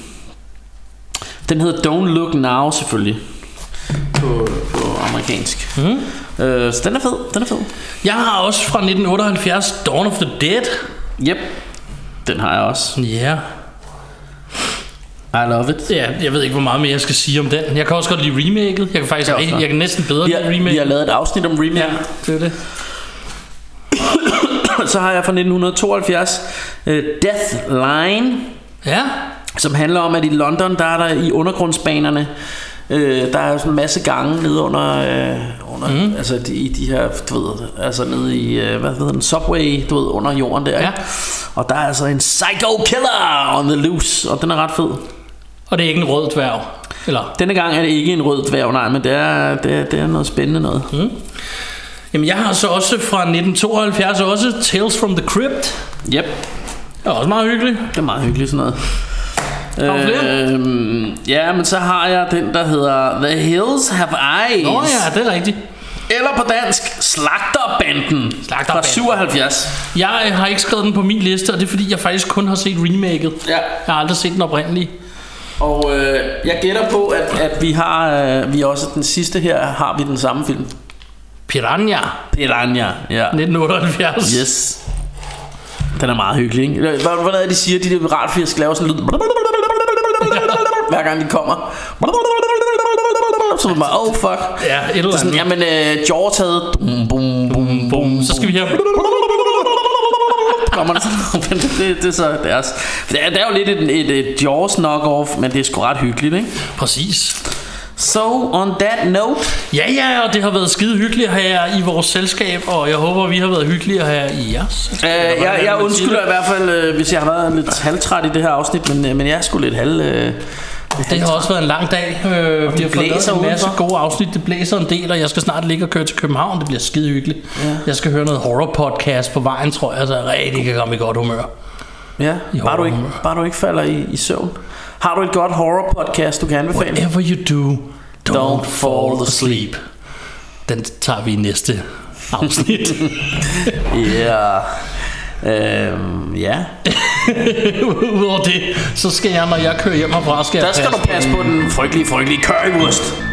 S4: den hedder Don't Look Now selvfølgelig. På, på amerikansk.
S3: Mhm.
S4: Mm. Øh, så den er fed, den er fed.
S3: Jeg har også fra 1978 Dawn of the Dead.
S4: Yep. Den har jeg også.
S3: Ja. Yeah.
S4: I love it.
S3: Ja, jeg ved ikke, hvor meget mere jeg skal sige om den. Jeg kan også godt lide remaket. Jeg kan faktisk
S4: Ja,
S3: rigtig,
S4: også.
S3: jeg kan næsten bedre
S4: Vi
S3: lide
S4: har, vi har
S3: remake.
S4: lavet et afsnit om remake.
S3: Ja, det er det.
S4: øh, Så har jeg fra 1972 uh, Death Line.
S3: Ja,
S4: som handler om, at i London, der er der i undergrundsbanerne, øh, der er sådan en masse gange nede under, øh, under
S3: Mhm.
S4: mm. altså de, i de her, du ved, altså nede i, øh, hvad hedder den, subway, du ved, under jorden der. Ja. Og der er altså en psycho killer on the loose, og den er ret fed.
S3: Og det er ikke en rød dværg? Eller?
S4: Denne gang er det ikke en rød dværg, nej, men det er, det er, det er noget spændende noget.
S3: Mhm.
S4: Mm.
S3: Jamen, jeg har så også fra 1972 også Tales from the Crypt.
S4: Yep.
S3: Det er også meget hyggeligt.
S4: Det er meget hyggeligt sådan noget.
S3: Har du flere?
S4: Øhm, ja, men så har jeg den, der hedder The Hills Have Eyes.
S3: Nå ja, det er rigtigt.
S4: Eller på dansk, Slagterbanden, Slagterbanden. fra 77.
S3: Jeg øh, har ikke skrevet den på min liste, og det er fordi, jeg faktisk kun har set remaket.
S4: Ja.
S3: Jeg har aldrig set den oprindelige.
S4: Og øh, jeg gætter på, at, at vi har øh, vi også den sidste her, har vi den samme film.
S3: Piranha.
S4: Piranha, ja.
S3: 1978.
S4: Yes. Den er meget hyggelig, ikke? Hvad, hvad er det, de siger? De der piratfisk laver sådan en lyd. Hver gang de kommer. Så er det bare, oh fuck.
S3: Ja, et eller
S4: Det er sådan,
S3: andet.
S4: jamen, øh, George havde... Bum, bum, bum, bum,
S3: Så skal vi have...
S4: Kommer der sådan, men det, det, det, er så deres. Det er, det er jo lidt et, et, et Jaws knock-off, men det er sgu ret hyggeligt, ikke?
S3: Præcis.
S4: So, on that note,
S3: Ja, ja, og det har været skide hyggeligt her i vores selskab, og jeg håber, vi har været hyggeligere her i jeres.
S4: Øh, jeg, jeg undskylder i hvert fald, øh, hvis jeg har været lidt halvtræt i det her afsnit, men, øh, men jeg er sgu lidt halv... Øh,
S3: Det har også været en lang dag. Øh, vi har fået lavet
S4: blæser
S3: en masse
S4: udenfor.
S3: gode afsnit. Det blæser en del, og jeg skal snart ligge og køre til København. Det bliver skide hyggeligt. Ja. Jeg skal høre noget horror podcast på vejen, tror jeg, så jeg rigtig kan komme i godt humør.
S4: Ja, bare du, ikke, bare du ikke falder i, i søvn. Har du et godt horror podcast, du kan anbefale?
S3: Whatever you do, don't, don't fall asleep. Den tager vi i næste afsnit.
S4: Ja. Øhm, ja.
S3: Udover det, så skal jeg, når jeg kører hjem herfra, skal
S4: Der
S3: jeg
S4: skal du
S3: passe
S4: passe på den frygtelige, frygtelige currywurst.